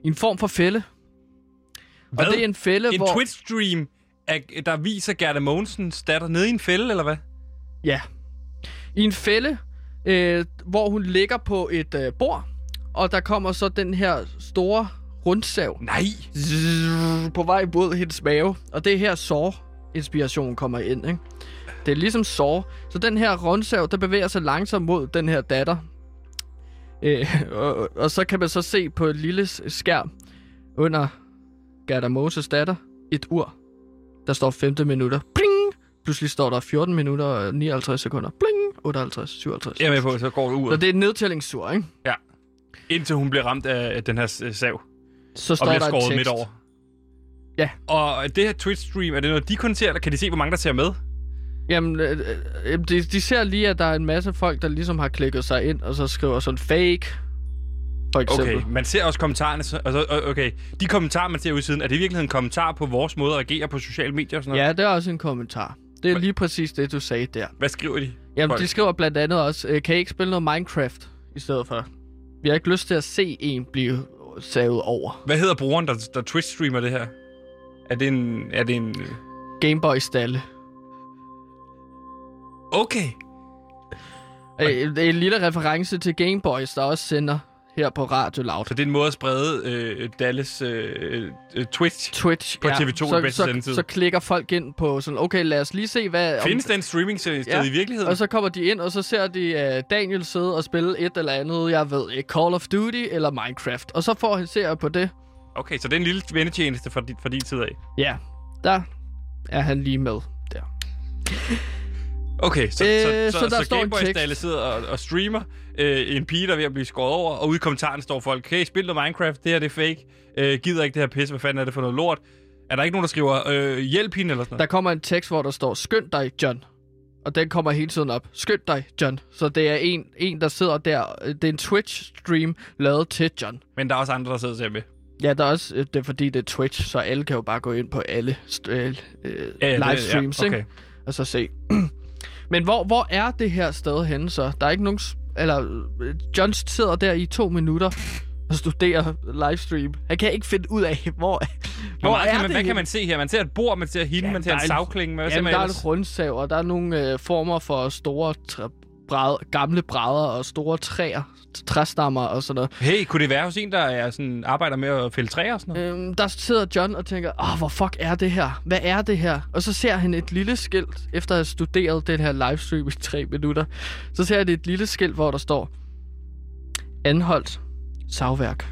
[SPEAKER 2] I en form for fælde.
[SPEAKER 1] Hvad?
[SPEAKER 2] Og det er en fælde,
[SPEAKER 1] En
[SPEAKER 2] hvor...
[SPEAKER 1] Twitch-stream, af- der viser Gerda Mogensens datter nede i en fælde, eller hvad?
[SPEAKER 2] Ja. I en fælde, øh, hvor hun ligger på et øh, bord, og der kommer så den her store rundsav
[SPEAKER 1] Nej.
[SPEAKER 2] zzz, på vej mod hendes mave. Og det er her Saw-inspirationen kommer ind, ikke? Det er ligesom Saw. Så den her rundsav, der bevæger sig langsomt mod den her datter. Øh, og, og så kan man så se på et lille s- skærm under Gerda Moses datter et ur. Der står 15 minutter. Bling! Pludselig står der 14 minutter og 59 sekunder. Bling! 58, 57.
[SPEAKER 1] Jeg er med på, så går det ud.
[SPEAKER 2] Så det er et nedtællingsur, ikke?
[SPEAKER 1] Indtil hun bliver ramt af den her s- øh, sav,
[SPEAKER 2] Så står
[SPEAKER 1] og bliver
[SPEAKER 2] der en
[SPEAKER 1] skåret
[SPEAKER 2] tekst.
[SPEAKER 1] midt over.
[SPEAKER 2] Ja.
[SPEAKER 1] Og det her Twitch-stream, er det noget, de kun ser, eller kan de se, hvor mange der ser med?
[SPEAKER 2] Jamen, øh, øh, de, de ser lige, at der er en masse folk, der ligesom har klikket sig ind, og så skriver sådan fake, for eksempel.
[SPEAKER 1] Okay, man ser også kommentarerne, så- og så, og- okay, de kommentarer, man ser ude i siden, er det i virkeligheden en kommentar på vores måde at agere på sociale medier og sådan noget?
[SPEAKER 2] Ja, det er også en kommentar. Det er lige præcis det, du sagde der.
[SPEAKER 1] Hvad skriver de?
[SPEAKER 2] Jamen,
[SPEAKER 1] Folk.
[SPEAKER 2] de skriver blandt andet også, øh, kan I ikke spille noget Minecraft i stedet for? Vi har ikke lyst til at se en blive savet over.
[SPEAKER 1] Hvad hedder brugeren, der, der Twitch-streamer det her? Er det en... Er det en...
[SPEAKER 2] Gameboy stalle.
[SPEAKER 6] Okay.
[SPEAKER 2] Øh, det er en lille reference til Game Boys, der også sender her på Radio Loud.
[SPEAKER 1] Så det er en måde at sprede øh, Dallas øh, øh, Twitch.
[SPEAKER 2] Twitch.
[SPEAKER 6] På TV2 i
[SPEAKER 2] så,
[SPEAKER 6] bedste
[SPEAKER 2] så,
[SPEAKER 6] sendetid.
[SPEAKER 2] så klikker folk ind på sådan, okay, lad os lige se, hvad... om-
[SPEAKER 1] Findes den streaming sted
[SPEAKER 2] Ja.
[SPEAKER 1] ja. i virkeligheden?
[SPEAKER 2] Og så kommer de ind, og så ser de uh, Daniel sidde og spille et eller andet, jeg ved ikke, Call of Duty eller Minecraft. Og så får han ser på det.
[SPEAKER 1] Okay, så det er en lille vendetjeneste fra din, fra din tid af.
[SPEAKER 2] Ja, der er han lige med der.
[SPEAKER 1] Okay, så,
[SPEAKER 2] Øh,
[SPEAKER 1] så,
[SPEAKER 2] så
[SPEAKER 1] så,
[SPEAKER 2] der
[SPEAKER 1] så,
[SPEAKER 2] står en
[SPEAKER 1] Gameboys
[SPEAKER 2] tekst.
[SPEAKER 1] Dalle sidder og, og streamer øh, en pige, der er ved at blive skåret over, og ude i kommentaren står folk, hey, spil noget Minecraft, det her det er fake, øh, gider ikke det her pisse, hvad fanden er det for noget lort? Er der ikke nogen, der skriver, øh, hjælp hende eller sådan
[SPEAKER 2] Der
[SPEAKER 1] noget?
[SPEAKER 2] kommer en tekst, hvor der står, skynd dig, John. Og den kommer hele tiden op. Skynd dig, John. Så det er en, en der sidder der. Det er en Twitch-stream lavet til John.
[SPEAKER 1] Men der er også andre, der sidder og ser med.
[SPEAKER 2] Ja, der er også, øh, det er fordi, det er Twitch, så alle kan jo bare gå ind på alle st- øh, øh,
[SPEAKER 1] Ja, det-
[SPEAKER 2] livestreams,
[SPEAKER 1] ja,
[SPEAKER 2] ikke?
[SPEAKER 1] okay.
[SPEAKER 2] og så se. Men hvor, hvor er det her sted henne så? Der er ikke nogen... s- Eller, øh, John sidder der i to minutter og studerer livestream. Han kan ikke finde ud af, hvor,
[SPEAKER 1] Hvor
[SPEAKER 2] hvor
[SPEAKER 1] meget
[SPEAKER 2] er
[SPEAKER 1] kan man,
[SPEAKER 2] det
[SPEAKER 1] hvad kan
[SPEAKER 2] henne?
[SPEAKER 1] man se her? Man ser et bord, man ser hende, ja, man ser
[SPEAKER 2] der
[SPEAKER 1] en
[SPEAKER 2] er en-
[SPEAKER 1] savklinge. Hvad ser
[SPEAKER 2] Jamen,
[SPEAKER 1] man
[SPEAKER 2] der er
[SPEAKER 1] ellers?
[SPEAKER 2] et rundsav, og der er nogle øh, former for store træ- bræd, gamle brædder og store træer, t- træstammer og sådan noget.
[SPEAKER 1] Hey, kunne det være hos en, der er sådan, arbejder med at fælde træer og sådan noget?
[SPEAKER 2] Øhm, der sidder John og tænker, åh, hvor fuck er det her? Hvad er det her? Og så ser han et lille skilt, efter at have studeret den her livestream i tre minutter. Så ser han et lille skilt, hvor der står, Anholdt savværk.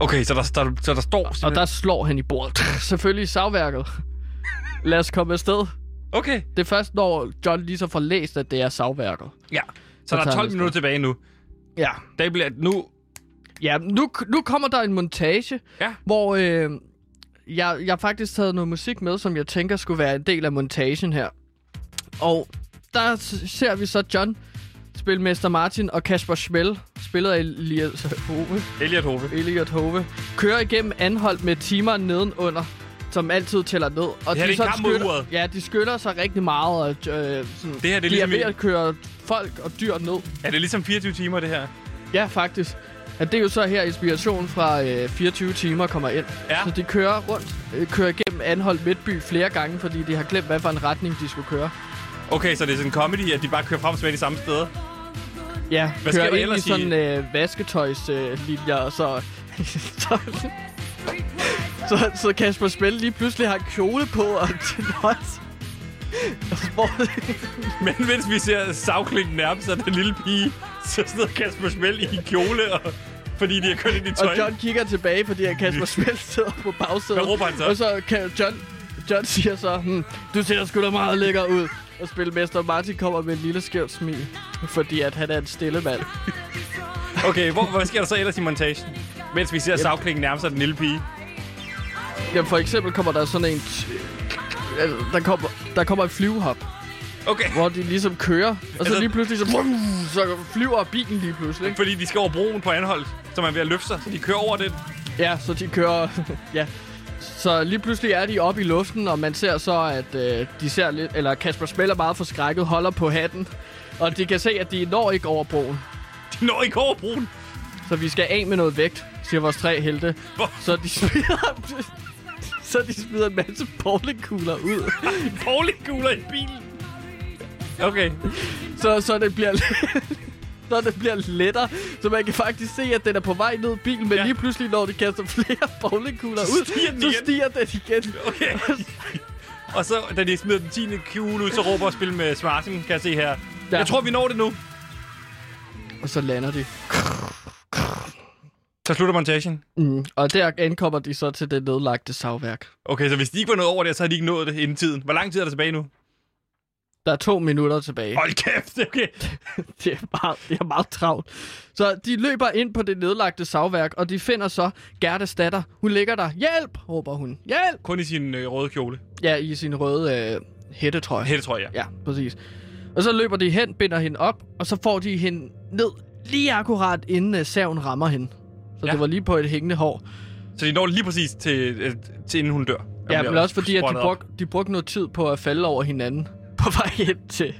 [SPEAKER 1] Okay, så der, der, så der står
[SPEAKER 2] Og
[SPEAKER 1] simpelthen...
[SPEAKER 2] der slår han i bordet. Selvfølgelig i savværket. Lad os komme afsted.
[SPEAKER 1] Okay,
[SPEAKER 2] Det er først, når John lige så får læst, at det er savværket.
[SPEAKER 1] ja.
[SPEAKER 2] Så
[SPEAKER 1] Så der
[SPEAKER 2] tager
[SPEAKER 1] er
[SPEAKER 2] vi
[SPEAKER 1] 12
[SPEAKER 2] afsted.
[SPEAKER 1] minutter tilbage nu.
[SPEAKER 2] Ja.
[SPEAKER 1] Der bliver nu...
[SPEAKER 2] Ja, nu, nu kommer der en montage,
[SPEAKER 1] Ja.
[SPEAKER 2] hvor øh, jeg, jeg har faktisk taget noget musik med, som jeg tænker skulle være en del af montagen her. Og der s- ser vi så John spille Mester Martin og Kasper Schmel, spillet af Elias Hove,
[SPEAKER 1] Elliot Hove.
[SPEAKER 2] Elliot Hove, kører igennem anholdt med timer nedenunder som altid tæller ned. Og
[SPEAKER 1] Det her er en kamp mod
[SPEAKER 2] skytter,
[SPEAKER 1] uret.
[SPEAKER 2] ja, de skytter sig rigtig meget, og øh, sådan,
[SPEAKER 1] Det her, det er
[SPEAKER 2] de
[SPEAKER 1] ligesom
[SPEAKER 2] er ved
[SPEAKER 1] i-
[SPEAKER 2] at køre folk og dyr ned.
[SPEAKER 1] Er det ligesom 24 timer, det her?
[SPEAKER 2] Ja, faktisk. At det er jo så her, inspiration fra øh, 24 timer kommer ind.
[SPEAKER 1] Ja.
[SPEAKER 2] Så de kører rundt, øh, kører igennem Anholdt Midtby flere gange, fordi de har glemt, hvad for en retning de skulle køre.
[SPEAKER 1] Okay, så det er sådan en comedy, at de bare kører frem og tilbage de samme steder.
[SPEAKER 2] Ja,
[SPEAKER 1] Hvad sker
[SPEAKER 2] kører
[SPEAKER 1] der
[SPEAKER 2] ind i
[SPEAKER 1] ellers i-
[SPEAKER 2] sådan øh, vasketøjslinjer, øh, linjer, og så... så så, så Kasper Spil lige pludselig har en kjole på og til nøjs. Hvor,
[SPEAKER 1] Men mens vi ser savklingen nærme sig den lille pige, så sidder Kasper Schmel i en kjole, og, fordi de har kørt ind i tøj.
[SPEAKER 2] og John kigger tilbage, fordi at Kasper Spil sidder på bagsædet.
[SPEAKER 1] Hvad råber han så?
[SPEAKER 2] Og så kan John, John siger så, hmm, du ser sgu da meget lækker ud. Og spilmester Martin kommer med en lille skævt smil, fordi at han er en stille mand.
[SPEAKER 1] Okay, hvor, hvad sker der så ellers i montagen? Mens vi ser yep. savklingen nærme sig den lille pige.
[SPEAKER 2] Jamen for eksempel kommer der sådan en... T- altså, der kommer, der kommer et flyvehop,
[SPEAKER 1] Okay,
[SPEAKER 2] hvor de ligesom kører, og så
[SPEAKER 1] Altså-
[SPEAKER 2] lige pludselig så, vum, så flyver bilen lige pludselig. ikke?
[SPEAKER 1] fordi de skal over broen på Anholdt, så man er ved at løfte sig, så de kører over den.
[SPEAKER 2] Ja, så de kører... ja. Så lige pludselig er de oppe i luften, og man ser så, at øh, de ser lidt... Eller Kasper spiller meget forskrækket, holder på hatten, og de kan se, at de når ikke over broen.
[SPEAKER 1] De når ikke over broen.
[SPEAKER 2] Så vi skal af med noget vægt, siger vores tre helte.
[SPEAKER 1] Hvor-
[SPEAKER 2] Så de smider, så de smider en masse bowlingkugler ud.
[SPEAKER 1] Bowlingkugler i bilen. Okay,
[SPEAKER 2] Så, så det bliver så det bliver lettere. Så man kan faktisk se, at den er på vej ned i bilen, men ja.
[SPEAKER 1] Ja.
[SPEAKER 2] lige pludselig, når de kaster flere bowlingkugler
[SPEAKER 1] Så
[SPEAKER 2] ud,
[SPEAKER 1] stiger den
[SPEAKER 2] så
[SPEAKER 1] igen.
[SPEAKER 2] stiger den igen.
[SPEAKER 1] okay. Og så, da de smider den 10. kugle ud, så råber og spil med Smarten, kan jeg se her.
[SPEAKER 2] Ja.
[SPEAKER 1] Ja. Jeg tror, vi når det nu.
[SPEAKER 2] Og så lander de.
[SPEAKER 1] Så slutter montagen.
[SPEAKER 2] Mm. Og der ankommer de så til det nedlagte savværk.
[SPEAKER 1] Okay, så hvis de ikke var nået over der, så havde de ikke nået det inden tiden. Hvor lang tid er der tilbage nu?
[SPEAKER 2] Der er to minutter tilbage.
[SPEAKER 1] Hold kæft, okay.
[SPEAKER 2] Det er meget, det er meget travlt. Så de løber ind på det nedlagte savværk, og de finder så Gerdas datter. Hun ligger der. Hjælp, råber hun. Hjælp!
[SPEAKER 1] Kun i sin øh, røde kjole.
[SPEAKER 2] Ja, i sin røde øh, hættetrøje.
[SPEAKER 1] Hætte, tror jeg.
[SPEAKER 2] Ja, præcis. Og så løber de hen, binder hende op, og så får de hende ned lige akkurat inden øh, saven rammer hende. Så ja.
[SPEAKER 1] Ja.
[SPEAKER 2] det var lige på et hængende hår.
[SPEAKER 1] Så de når lige præcis til, øh, til inden hun dør. Hun
[SPEAKER 2] Ja,
[SPEAKER 1] bliver
[SPEAKER 2] men også fordi, at de,
[SPEAKER 1] sprøjtet op.
[SPEAKER 2] brug, de brugte noget tid på at falde over hinanden på vej hen til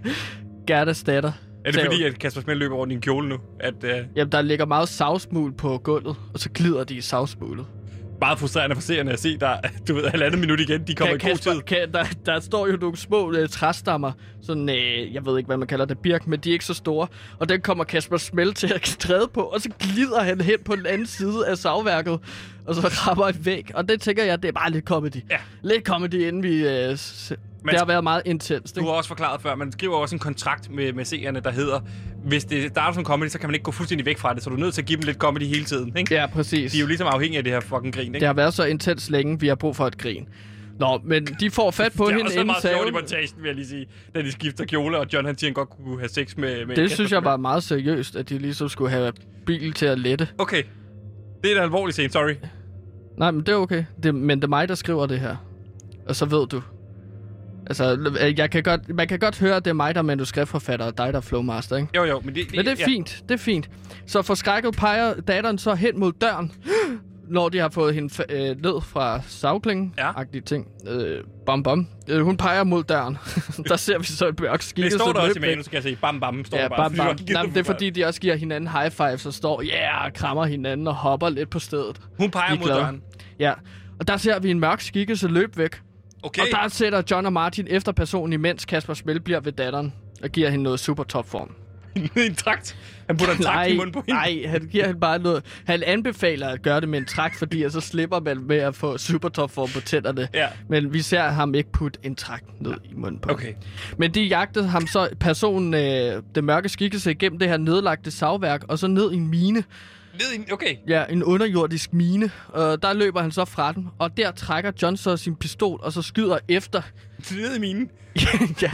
[SPEAKER 2] Gerdas datter.
[SPEAKER 1] Er det
[SPEAKER 2] Saven.
[SPEAKER 1] fordi, at Kasper Smidt løber rundt i en kjole nu? At, øh,
[SPEAKER 2] Jamen, der ligger meget savsmul på gulvet, og så glider de i savsmulet.
[SPEAKER 1] meget frustrerende for seerne at se, der du ved, halvandet minut igen, de kommer
[SPEAKER 2] Kan,
[SPEAKER 1] i god tid.
[SPEAKER 2] Kasper, kan, der, der står jo nogle små øh, træstammer, sådan, øh, jeg ved ikke, hvad man kalder det, birk, men de er ikke så store. Og den kommer Kasper Smelt til at træde på, og så glider han hen på den anden side af savværket, og så rammer en væg. Og det tænker jeg, det er bare lidt comedy.
[SPEAKER 1] Ja.
[SPEAKER 2] Lidt comedy, inden vi... Øh, s- det har været meget intenst,
[SPEAKER 1] Du
[SPEAKER 2] ikke?
[SPEAKER 1] har også forklaret før, man skriver også en kontrakt med, med seerne, der hedder, hvis det starter som comedy, så kan man ikke gå fuldstændig væk fra det, så du er nødt til at give dem lidt comedy hele tiden. Ikke?
[SPEAKER 2] Ja, præcis.
[SPEAKER 1] De er jo ligesom afhængige af det her fucking grin,
[SPEAKER 2] Det
[SPEAKER 1] ikke?
[SPEAKER 2] har været så intens længe, vi har brug for et grin. Nå, men de får fat på
[SPEAKER 1] Det er
[SPEAKER 2] hende
[SPEAKER 1] også
[SPEAKER 2] inden
[SPEAKER 1] meget sjovt i
[SPEAKER 2] saven.
[SPEAKER 1] montagen, vil jeg lige sige, da de skifter kjole, og John han siger, han godt kunne have sex med, med
[SPEAKER 2] Det
[SPEAKER 1] Kasper
[SPEAKER 2] synes jeg var meget seriøst, at de ligesom skulle have bil til at lette.
[SPEAKER 1] Okay. Det er en alvorlig scene, sorry.
[SPEAKER 2] Nej, men det er okay. Det, men det er mig, der skriver det her. Og så ved du. Altså, øh, jeg kan godt, man kan godt høre, at det er mig, der er manuskriptforfatter, og dig, der er flowmaster, ikke?
[SPEAKER 1] Jo, jo, men det,
[SPEAKER 2] Men det er
[SPEAKER 1] ja.
[SPEAKER 2] fint, det er fint. Så forskrækket peger datteren så hen mod døren, når de har fået hende fa- øh, ned fra savklingen.
[SPEAKER 1] Ja.
[SPEAKER 2] Agtige ting. Øh, bom, bom. Øh, hun peger mod døren. der ser vi så et mørk skikke.
[SPEAKER 1] Det står
[SPEAKER 2] som
[SPEAKER 1] der også i
[SPEAKER 2] løb væk.
[SPEAKER 1] manus, kan jeg se. Bam, bam, står
[SPEAKER 2] Ja,
[SPEAKER 1] der
[SPEAKER 2] bare,
[SPEAKER 1] bare.
[SPEAKER 2] bare, bare. Nej, men det er fordi, de også giver hinanden high fives og står, ja, yeah, og krammer hinanden og hopper lidt på stedet.
[SPEAKER 1] Hun peger
[SPEAKER 2] De er
[SPEAKER 1] mod
[SPEAKER 2] glade.
[SPEAKER 1] døren.
[SPEAKER 2] Ja, og der ser vi en mørk skikkelse løb væk.
[SPEAKER 1] Okay.
[SPEAKER 2] Og der sætter John og Martin efter personen, imens Kasper Smell bliver ved datteren og giver hende noget super topform.
[SPEAKER 1] en trakt. Han putter en trakt i munden på hende.
[SPEAKER 2] nej, han giver hende bare noget. Han anbefaler at gøre det med en trakt, fordi så slipper man med at få super topform på tænderne.
[SPEAKER 1] Ja.
[SPEAKER 2] Men vi ser ham ikke putte en trakt ned i munden på.
[SPEAKER 1] Okay.
[SPEAKER 2] Men de jagtede ham så, personen, øh, det mørke skikkelse, igennem det her nedlagte savværk, og så ned i en mine.
[SPEAKER 1] Ned i, okay.
[SPEAKER 2] Ja, en underjordisk mine. Og der løber han så fra den, og der trækker John så sin pistol, og så skyder efter.
[SPEAKER 1] Ned i minen.
[SPEAKER 2] ja,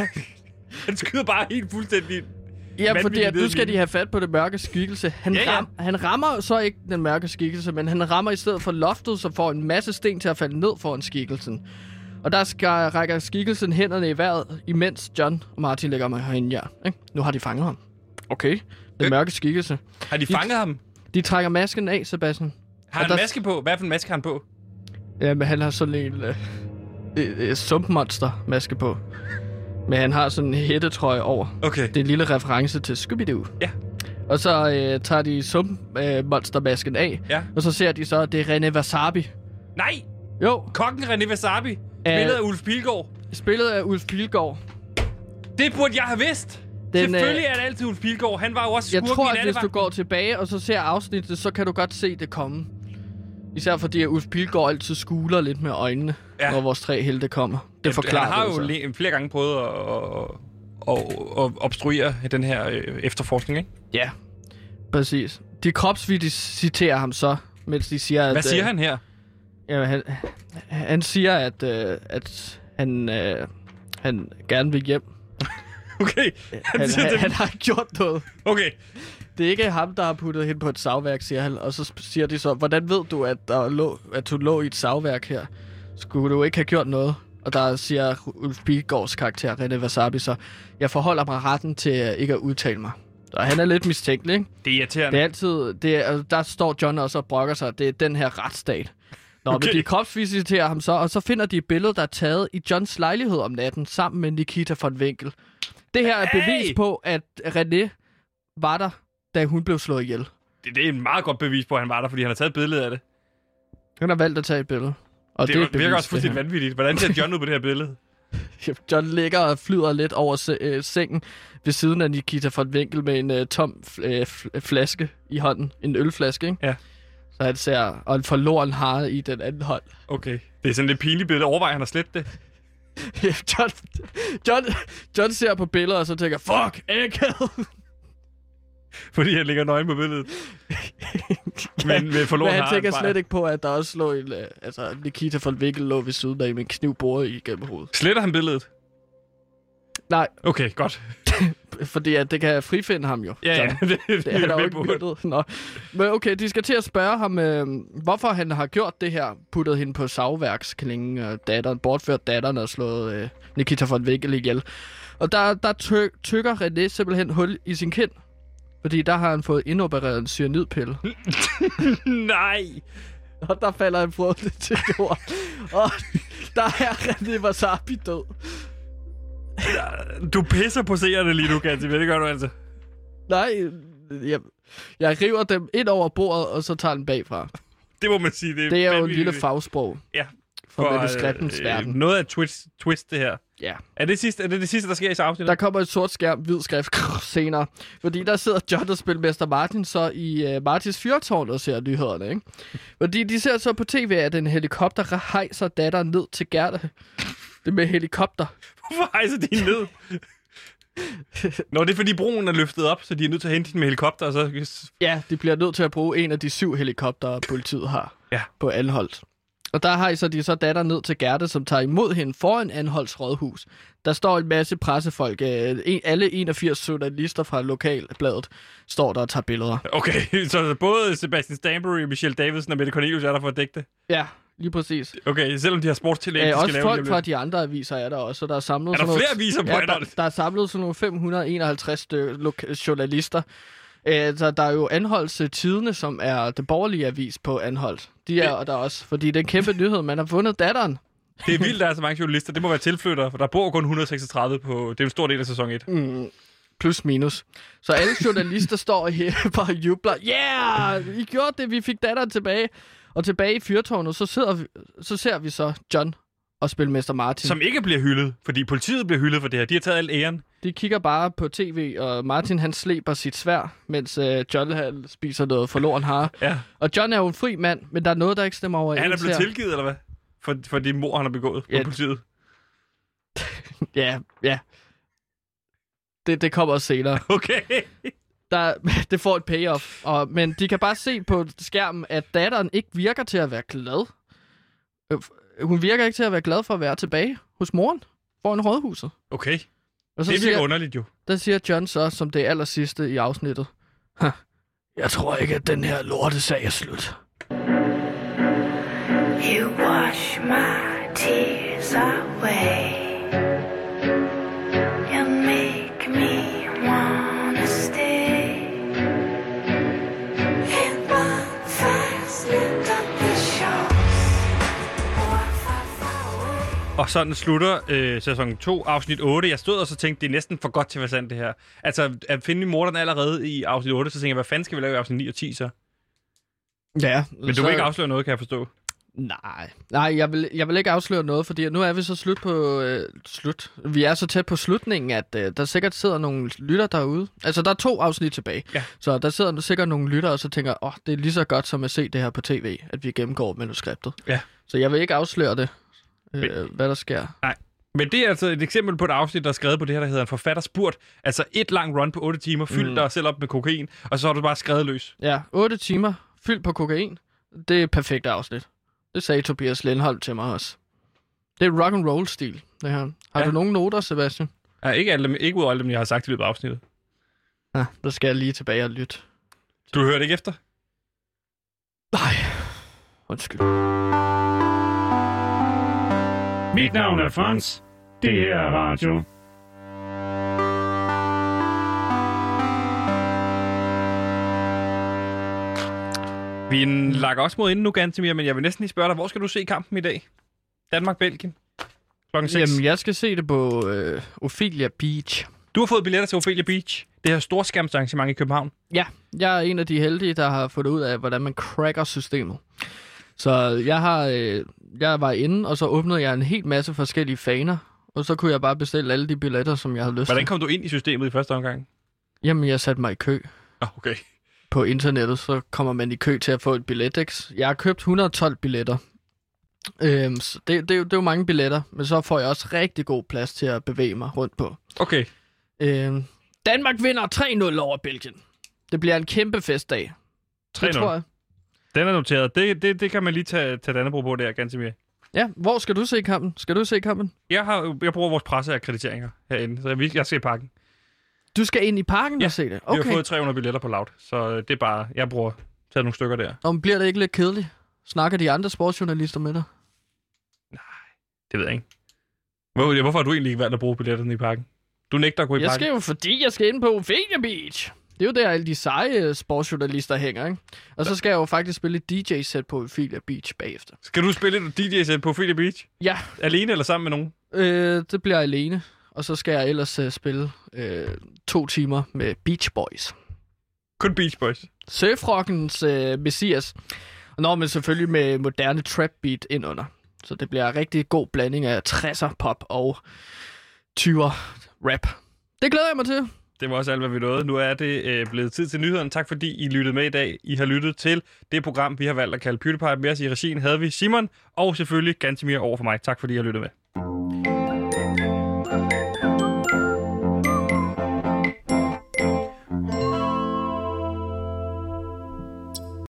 [SPEAKER 1] Han skyder bare helt fuldstændig.
[SPEAKER 2] Ja,
[SPEAKER 1] Vanvittig
[SPEAKER 2] fordi at nu
[SPEAKER 1] ledning.
[SPEAKER 2] skal de have fat på det mørke skikkelse. Han,
[SPEAKER 1] Ja,
[SPEAKER 2] ja,
[SPEAKER 1] ja.
[SPEAKER 2] ja. Ram, han rammer så ikke den mørke skikkelse, men han rammer i stedet for loftet, så får en masse sten til at falde ned foran skikkelsen. Og der skal, rækker skikkelsen hænderne i vejret, imens John og Martin lægger mig herinde ja. Ikke? Nu har de fanget ham. Okay. Den
[SPEAKER 1] Øh.
[SPEAKER 2] mørke skikkelse.
[SPEAKER 1] Har de fanget ham?
[SPEAKER 2] De trækker masken af, Sebastian.
[SPEAKER 1] Har han
[SPEAKER 2] der-
[SPEAKER 1] en maske på? Hvad for en maske har han på?
[SPEAKER 2] Ja, men han har sådan en øh, øh, øh, sumpmonster-maske på. Men han har sådan en hættetrøje over.
[SPEAKER 1] Okay.
[SPEAKER 2] Det er en lille reference til Scooby-Doo.
[SPEAKER 1] Ja.
[SPEAKER 2] Og så øh, tager de sump-monstermasken af,
[SPEAKER 1] Ja.
[SPEAKER 2] og så ser de så, at det er René Wasabi.
[SPEAKER 1] Nej!
[SPEAKER 2] Jo,
[SPEAKER 1] Kokken René Wasabi. Billedet af Ulf Pilgaard.
[SPEAKER 2] spillet af Ulf Pilgaard.
[SPEAKER 1] Det burde jeg have vidst.
[SPEAKER 2] Den, øh,
[SPEAKER 1] Selvfølgelig er det altid Ulf Pilgaard. Han var jo også
[SPEAKER 2] Jeg
[SPEAKER 1] skurken
[SPEAKER 2] tror,
[SPEAKER 1] i
[SPEAKER 2] at hvis du
[SPEAKER 1] nattevagten.
[SPEAKER 2] går tilbage og så ser afsnittet, så kan du godt se det komme. Især fordi at Ulf Pilgaard altid skuler lidt med øjnene,
[SPEAKER 1] Ja.
[SPEAKER 2] ja. når vores tre helte kommer. Det forklarer
[SPEAKER 1] Han har
[SPEAKER 2] det
[SPEAKER 1] jo
[SPEAKER 2] så.
[SPEAKER 1] le- flere gange prøvet at, at, at, at obstruere den her øh, efterforskning, ikke?
[SPEAKER 2] Ja, præcis. De kropsvisiterer ham så, mens de siger, at...
[SPEAKER 1] Hvad siger
[SPEAKER 2] øh,
[SPEAKER 1] han her?
[SPEAKER 2] Ja, han, han siger, at, øh, at han, øh, han gerne vil hjem.
[SPEAKER 1] Okay.
[SPEAKER 2] Han,
[SPEAKER 1] siger
[SPEAKER 2] han,
[SPEAKER 1] det-
[SPEAKER 2] han har ikke gjort noget.
[SPEAKER 1] Okay.
[SPEAKER 2] Det er ikke ham, der har puttet hende på et savværk, siger han. Og så sp- siger de så, hvordan ved du, at, der lå, at du lå i et savværk her? Skulle du ikke have gjort noget? Og der siger Ulf Bigårds karakter, René Wasabi, så jeg forholder mig retten til øh, ikke at udtale mig. Og han er lidt mistænkelig, ikke?
[SPEAKER 1] Det er irriterende.
[SPEAKER 2] Det er altid... Det er, altså, der står John også og brokker sig. Det er den her retsstat. Nå, okay.
[SPEAKER 1] Okay.
[SPEAKER 2] men de kropsvisiterer ham så, og så finder de et billede, der er taget i Johns lejlighed om natten, sammen med Nikita von Winkel. Det her er bevis
[SPEAKER 1] Hey!
[SPEAKER 2] på, at René var der, da hun blev slået ihjel.
[SPEAKER 1] Det, det er en meget godt bevis på, at han var der, fordi han har taget billedet af det.
[SPEAKER 2] Han har valgt at tage et billede. Og
[SPEAKER 1] Det,
[SPEAKER 2] det, er
[SPEAKER 1] det
[SPEAKER 2] et bevis,
[SPEAKER 1] virker også
[SPEAKER 2] det
[SPEAKER 1] fuldstændig
[SPEAKER 2] her.
[SPEAKER 1] vanvittigt. Hvordan ser John ud på det her billede?
[SPEAKER 2] John ligger og flyder lidt over se- øh, sengen ved siden af Nikita von Winkel med en øh, tom f- øh, f- flaske i hånden. En ølflaske, ikke?
[SPEAKER 1] Ja.
[SPEAKER 2] Så han ser... Og en forloren har i den anden hånd.
[SPEAKER 1] Okay. Det er sådan lidt pinligt billede. Overvej, at han har slet det.
[SPEAKER 2] John, John, John ser på billeder, og så tænker, fuck, ægget.
[SPEAKER 1] Fordi han ligger nøgen på billedet. Men med forlorene
[SPEAKER 2] Men han
[SPEAKER 1] har
[SPEAKER 2] tænker
[SPEAKER 1] bare-
[SPEAKER 2] slet ikke på, at der også lå en, øh, altså Nikita von Winkel lå ved siden af med en kniv boret igennem hovedet.
[SPEAKER 1] Sletter han billedet?
[SPEAKER 2] Nej,
[SPEAKER 1] Okay, godt.
[SPEAKER 2] fordi at det kan frifinde ham jo.
[SPEAKER 1] Ja, ja.
[SPEAKER 2] John.
[SPEAKER 1] Det, det,
[SPEAKER 2] Det er der jo
[SPEAKER 1] med
[SPEAKER 2] ikke
[SPEAKER 1] på.
[SPEAKER 2] myrdet. Nå. Men okay, de skal til at spørge ham, øh, hvorfor han har gjort det her. Puttet hende på savværksklingen, og datteren, bortført datteren og slået øh, Nikita von Winkel ihjel. Og der, der ty- tykker René simpelthen hul i sin kind. Fordi der har han fået indopereret en cyanidpille.
[SPEAKER 1] Nej.
[SPEAKER 2] Og der falder en frøde til jorden. og der er René Wasabi død.
[SPEAKER 1] Du pisser på seerne lige nu, Gansi. Det gør du altså.
[SPEAKER 2] Nej, jeg, jeg river dem ind over bordet, og så tager den bagfra.
[SPEAKER 1] det må man sige. Det er,
[SPEAKER 2] Det er jo et
[SPEAKER 1] vanvittigt.
[SPEAKER 2] lille fagsprog
[SPEAKER 1] Ja.
[SPEAKER 2] for
[SPEAKER 1] For,
[SPEAKER 2] manuskriptens
[SPEAKER 1] øh,
[SPEAKER 2] verden.
[SPEAKER 1] Noget af et twist, twist, det her.
[SPEAKER 2] Ja.
[SPEAKER 1] Er det, sidste, er det det sidste, der sker i afsnit?
[SPEAKER 2] Der kommer et sort skærm, hvid skrift krr, senere. Fordi der sidder John og spilmester Martin så i uh, Martins fyrtårn og ser nyhederne, ikke? Fordi de ser så på tv, at en helikopter hejser datteren ned til Gerda. Det med helikopter.
[SPEAKER 1] Hvorfor hejser de hende ned? Nå, det er fordi broen er løftet op, så de er nødt til at hente hende med helikopter, og så...
[SPEAKER 2] Ja, de bliver nødt til at bruge en af de syv helikoptere, politiet har
[SPEAKER 1] Ja.
[SPEAKER 2] på Anholdt. Og der hejser de så datter ned til Gerda, som tager imod hende foran Anholds rådhus. Der står en masse pressefolk. øh, en- Alle 81 journalister fra lokalbladet står der og tager billeder.
[SPEAKER 1] Okay, så både Sebastian Stanbury, Michelle Davidsen og Mette Cornelius er der for at dække det.
[SPEAKER 2] Ja, lige præcis.
[SPEAKER 1] Okay, selvom de har sportstillæg, de
[SPEAKER 2] Ja,
[SPEAKER 1] skal
[SPEAKER 2] Øh, også
[SPEAKER 1] lave
[SPEAKER 2] folk
[SPEAKER 1] lige om
[SPEAKER 2] fra
[SPEAKER 1] lidt.
[SPEAKER 2] de andre aviser er der også, så der er samlet...
[SPEAKER 1] Er der
[SPEAKER 2] sådan nogle-
[SPEAKER 1] flere aviser på
[SPEAKER 2] ja, der,
[SPEAKER 1] Anholt?
[SPEAKER 2] der er samlet sådan nogle 551 styk- lok- journalister. Øh, Så der er jo Anholds øh, Tidene, som er det borgerlige avis på Anholdt. De er der også, fordi det er en kæmpe nyhed. Man har vundet datteren.
[SPEAKER 1] Det er vildt, der er så mange journalister. Det må være tilflyttere, for der bor kun 136 på... Det er en stor del af sæson 1.
[SPEAKER 2] Mm. Plus minus. Så alle journalister står her og jubler. Yeah! I gjorde det, vi fik datteren tilbage. Og tilbage i fyrtårnet, så, sidder vi, så ser vi så John og spilmester Martin.
[SPEAKER 1] Som ikke bliver hyldet, fordi politiet bliver hyldet for det her. De har taget alt æren.
[SPEAKER 2] De kigger bare på tv, og Martin han slæber sit svær, mens øh, John han spiser noget forloren har.
[SPEAKER 1] Ja.
[SPEAKER 2] Og John er jo en fri mand, men der er noget, der ikke stemmer over.
[SPEAKER 1] Han er blevet tilgivet, eller hvad? For, for de mor, han har begået ja.
[SPEAKER 2] Ja.
[SPEAKER 1] på politiet.
[SPEAKER 2] Ja, ja. Det, det kommer også senere.
[SPEAKER 1] Okay.
[SPEAKER 2] Der, det får et payoff. Og, men de kan bare se på skærmen, at datteren ikke virker til at være glad. Øh, f- Hun virker ikke til at være glad for at være tilbage hos moren foran rådhuset.
[SPEAKER 1] Okay.
[SPEAKER 2] Og så
[SPEAKER 1] Det virker
[SPEAKER 2] siger,
[SPEAKER 1] underligt jo.
[SPEAKER 2] der siger John så, som det aller sidste i afsnittet. "Huh, Jeg tror ikke, at den her lortesag er slut.
[SPEAKER 5] You wash my tears away. You make me wanna stay. And bonfires lit up the shores. Or far, far away.
[SPEAKER 1] Og sådan slutter øh, sæson 2, afsnit 8. Jeg stod og så tænkte, det er næsten for godt til at være sandt, det her. Altså, at finde morderen allerede i afsnit 8, så tænker jeg, hvad fanden skal vi lave i afsnit 9 og 10 så?
[SPEAKER 2] Ja.
[SPEAKER 1] Men du vil ikke afsløre noget, kan jeg forstå.
[SPEAKER 2] Nej, nej jeg, vil, jeg vil ikke afsløre noget, fordi nu er vi så slut på... Øh, slut. Vi er så tæt på slutningen, at øh, der sikkert sidder nogle lytter derude. Altså, der er to afsnit tilbage.
[SPEAKER 1] Ja.
[SPEAKER 2] Så der sidder sikkert nogle lytter, og så tænker, åh, oh, det er lige så godt som at se det her på tv, at vi gennemgår manuskriptet.
[SPEAKER 1] Ja.
[SPEAKER 2] Så jeg vil ikke afsløre det, øh, hvad der sker.
[SPEAKER 1] Men det er altså et eksempel på et afsnit, der er skrevet på det her, der hedder en forfatter spurt. Altså et lang run på 8 timer, fyldt mm. dig selv op med kokain, og så har du bare skrevet løs.
[SPEAKER 2] Ja, 8 timer fyldt på kokain. Det er et perfekt afsnit. Det sagde Tobias Lindholm til mig også. Det er rock and roll stil det her. Har
[SPEAKER 1] Ja.
[SPEAKER 2] ja. du nogen noter, Sebastian?
[SPEAKER 1] Ja, ikke, alle dem, ikke ud af alle dem, jeg har sagt i løbet af afsnittet.
[SPEAKER 2] Ja, der skal jeg lige tilbage og lytte.
[SPEAKER 1] Du hørte ikke efter?
[SPEAKER 2] Nej. Undskyld.
[SPEAKER 7] Mit navn er Frans. Det her er radio.
[SPEAKER 1] Vi lakker også mod inden nu, Gantemir, men jeg vil næsten lige spørge dig, hvor skal du se kampen i dag? Danmark-Belgien. Klokken 6.
[SPEAKER 2] Jamen, jeg skal se det på øh, Ophelia Beach.
[SPEAKER 1] Du har fået billetter til Ophelia Beach. Det her storskærmsarrangement i København.
[SPEAKER 2] Ja, jeg er en af de heldige, der har fundet ud af, hvordan man cracker systemet. Så jeg har, øh, jeg var inde, og så åbnede jeg en hel masse forskellige faner. Og så kunne jeg bare bestille alle de billetter, som jeg havde lyst
[SPEAKER 1] Hvordan
[SPEAKER 2] til.
[SPEAKER 1] kom du ind i systemet i første omgang?
[SPEAKER 2] Jamen, jeg satte mig i kø.
[SPEAKER 1] Nå, okay.
[SPEAKER 2] på internettet, så kommer man i kø til at få et billet, ikke? Jeg har købt 112 billetter. Øhm, så det, det, er jo- det er jo mange billetter, men så får jeg også rigtig god plads til at bevæge mig rundt på.
[SPEAKER 1] Okay.
[SPEAKER 2] Øhm, Danmark vinder 3-0 over Belgien. Det bliver en kæmpe festdag. Det
[SPEAKER 1] 3-0.
[SPEAKER 2] tror jeg.
[SPEAKER 1] Den er noteret. Det, det, det kan man lige tage, tage Dannebro på der, Gantemir.
[SPEAKER 2] Ja, hvor skal du se kampen? Skal du se kampen?
[SPEAKER 1] Jeg, har, jeg bruger vores presseakkrediteringer herinde, så jeg, vil- jeg skal i pakken.
[SPEAKER 2] Du skal ind i parken
[SPEAKER 1] Ja,
[SPEAKER 2] og se det?
[SPEAKER 1] Okay. Vi har
[SPEAKER 2] Okay.
[SPEAKER 1] fået 300 billetter på Loud, så øh, det er bare, jeg bruger taget nogle stykker der.
[SPEAKER 2] Om bliver det ikke lidt kedeligt? Snakker de andre sportsjournalister med dig?
[SPEAKER 1] Det ved jeg ikke. Hvor, hvorfor har du egentlig ikke valgt at bruge billetterne i pakken? Du nægter at gå i
[SPEAKER 2] Jeg
[SPEAKER 1] pakken.
[SPEAKER 2] skal jo, fordi jeg skal ind på Ophelia Beach. Det er jo der, alle de seje øh, sportsjournalister hænger, ikke? Og så skal jeg jo faktisk spille et DJ-sæt på Ophelia Beach bagefter.
[SPEAKER 1] Skal du spille et DJ-sæt på Ophelia Beach?
[SPEAKER 2] Ja,
[SPEAKER 1] Alene eller sammen med nogen?
[SPEAKER 2] øh, det bliver jeg alene. Og så skal jeg ellers øh, spille øh, to timer med Beach Boys.
[SPEAKER 1] Kun Beach Boys.
[SPEAKER 2] Surfrockens øh, messias. Nå, men selvfølgelig med moderne trap beat indunder. Så det bliver en rigtig god blanding af 60'er pop og 20'er rap. Det glæder jeg mig til.
[SPEAKER 1] Det var også alt, hvad vi nåede. Nu er det øh, blevet tid til nyhederne. Tak fordi I lyttede med i dag. I har lyttet til det program, vi har valgt at kalde PewDiePie. Med os i regien havde vi Simon og selvfølgelig Gantemir over for mig. Tak fordi I har lyttet med.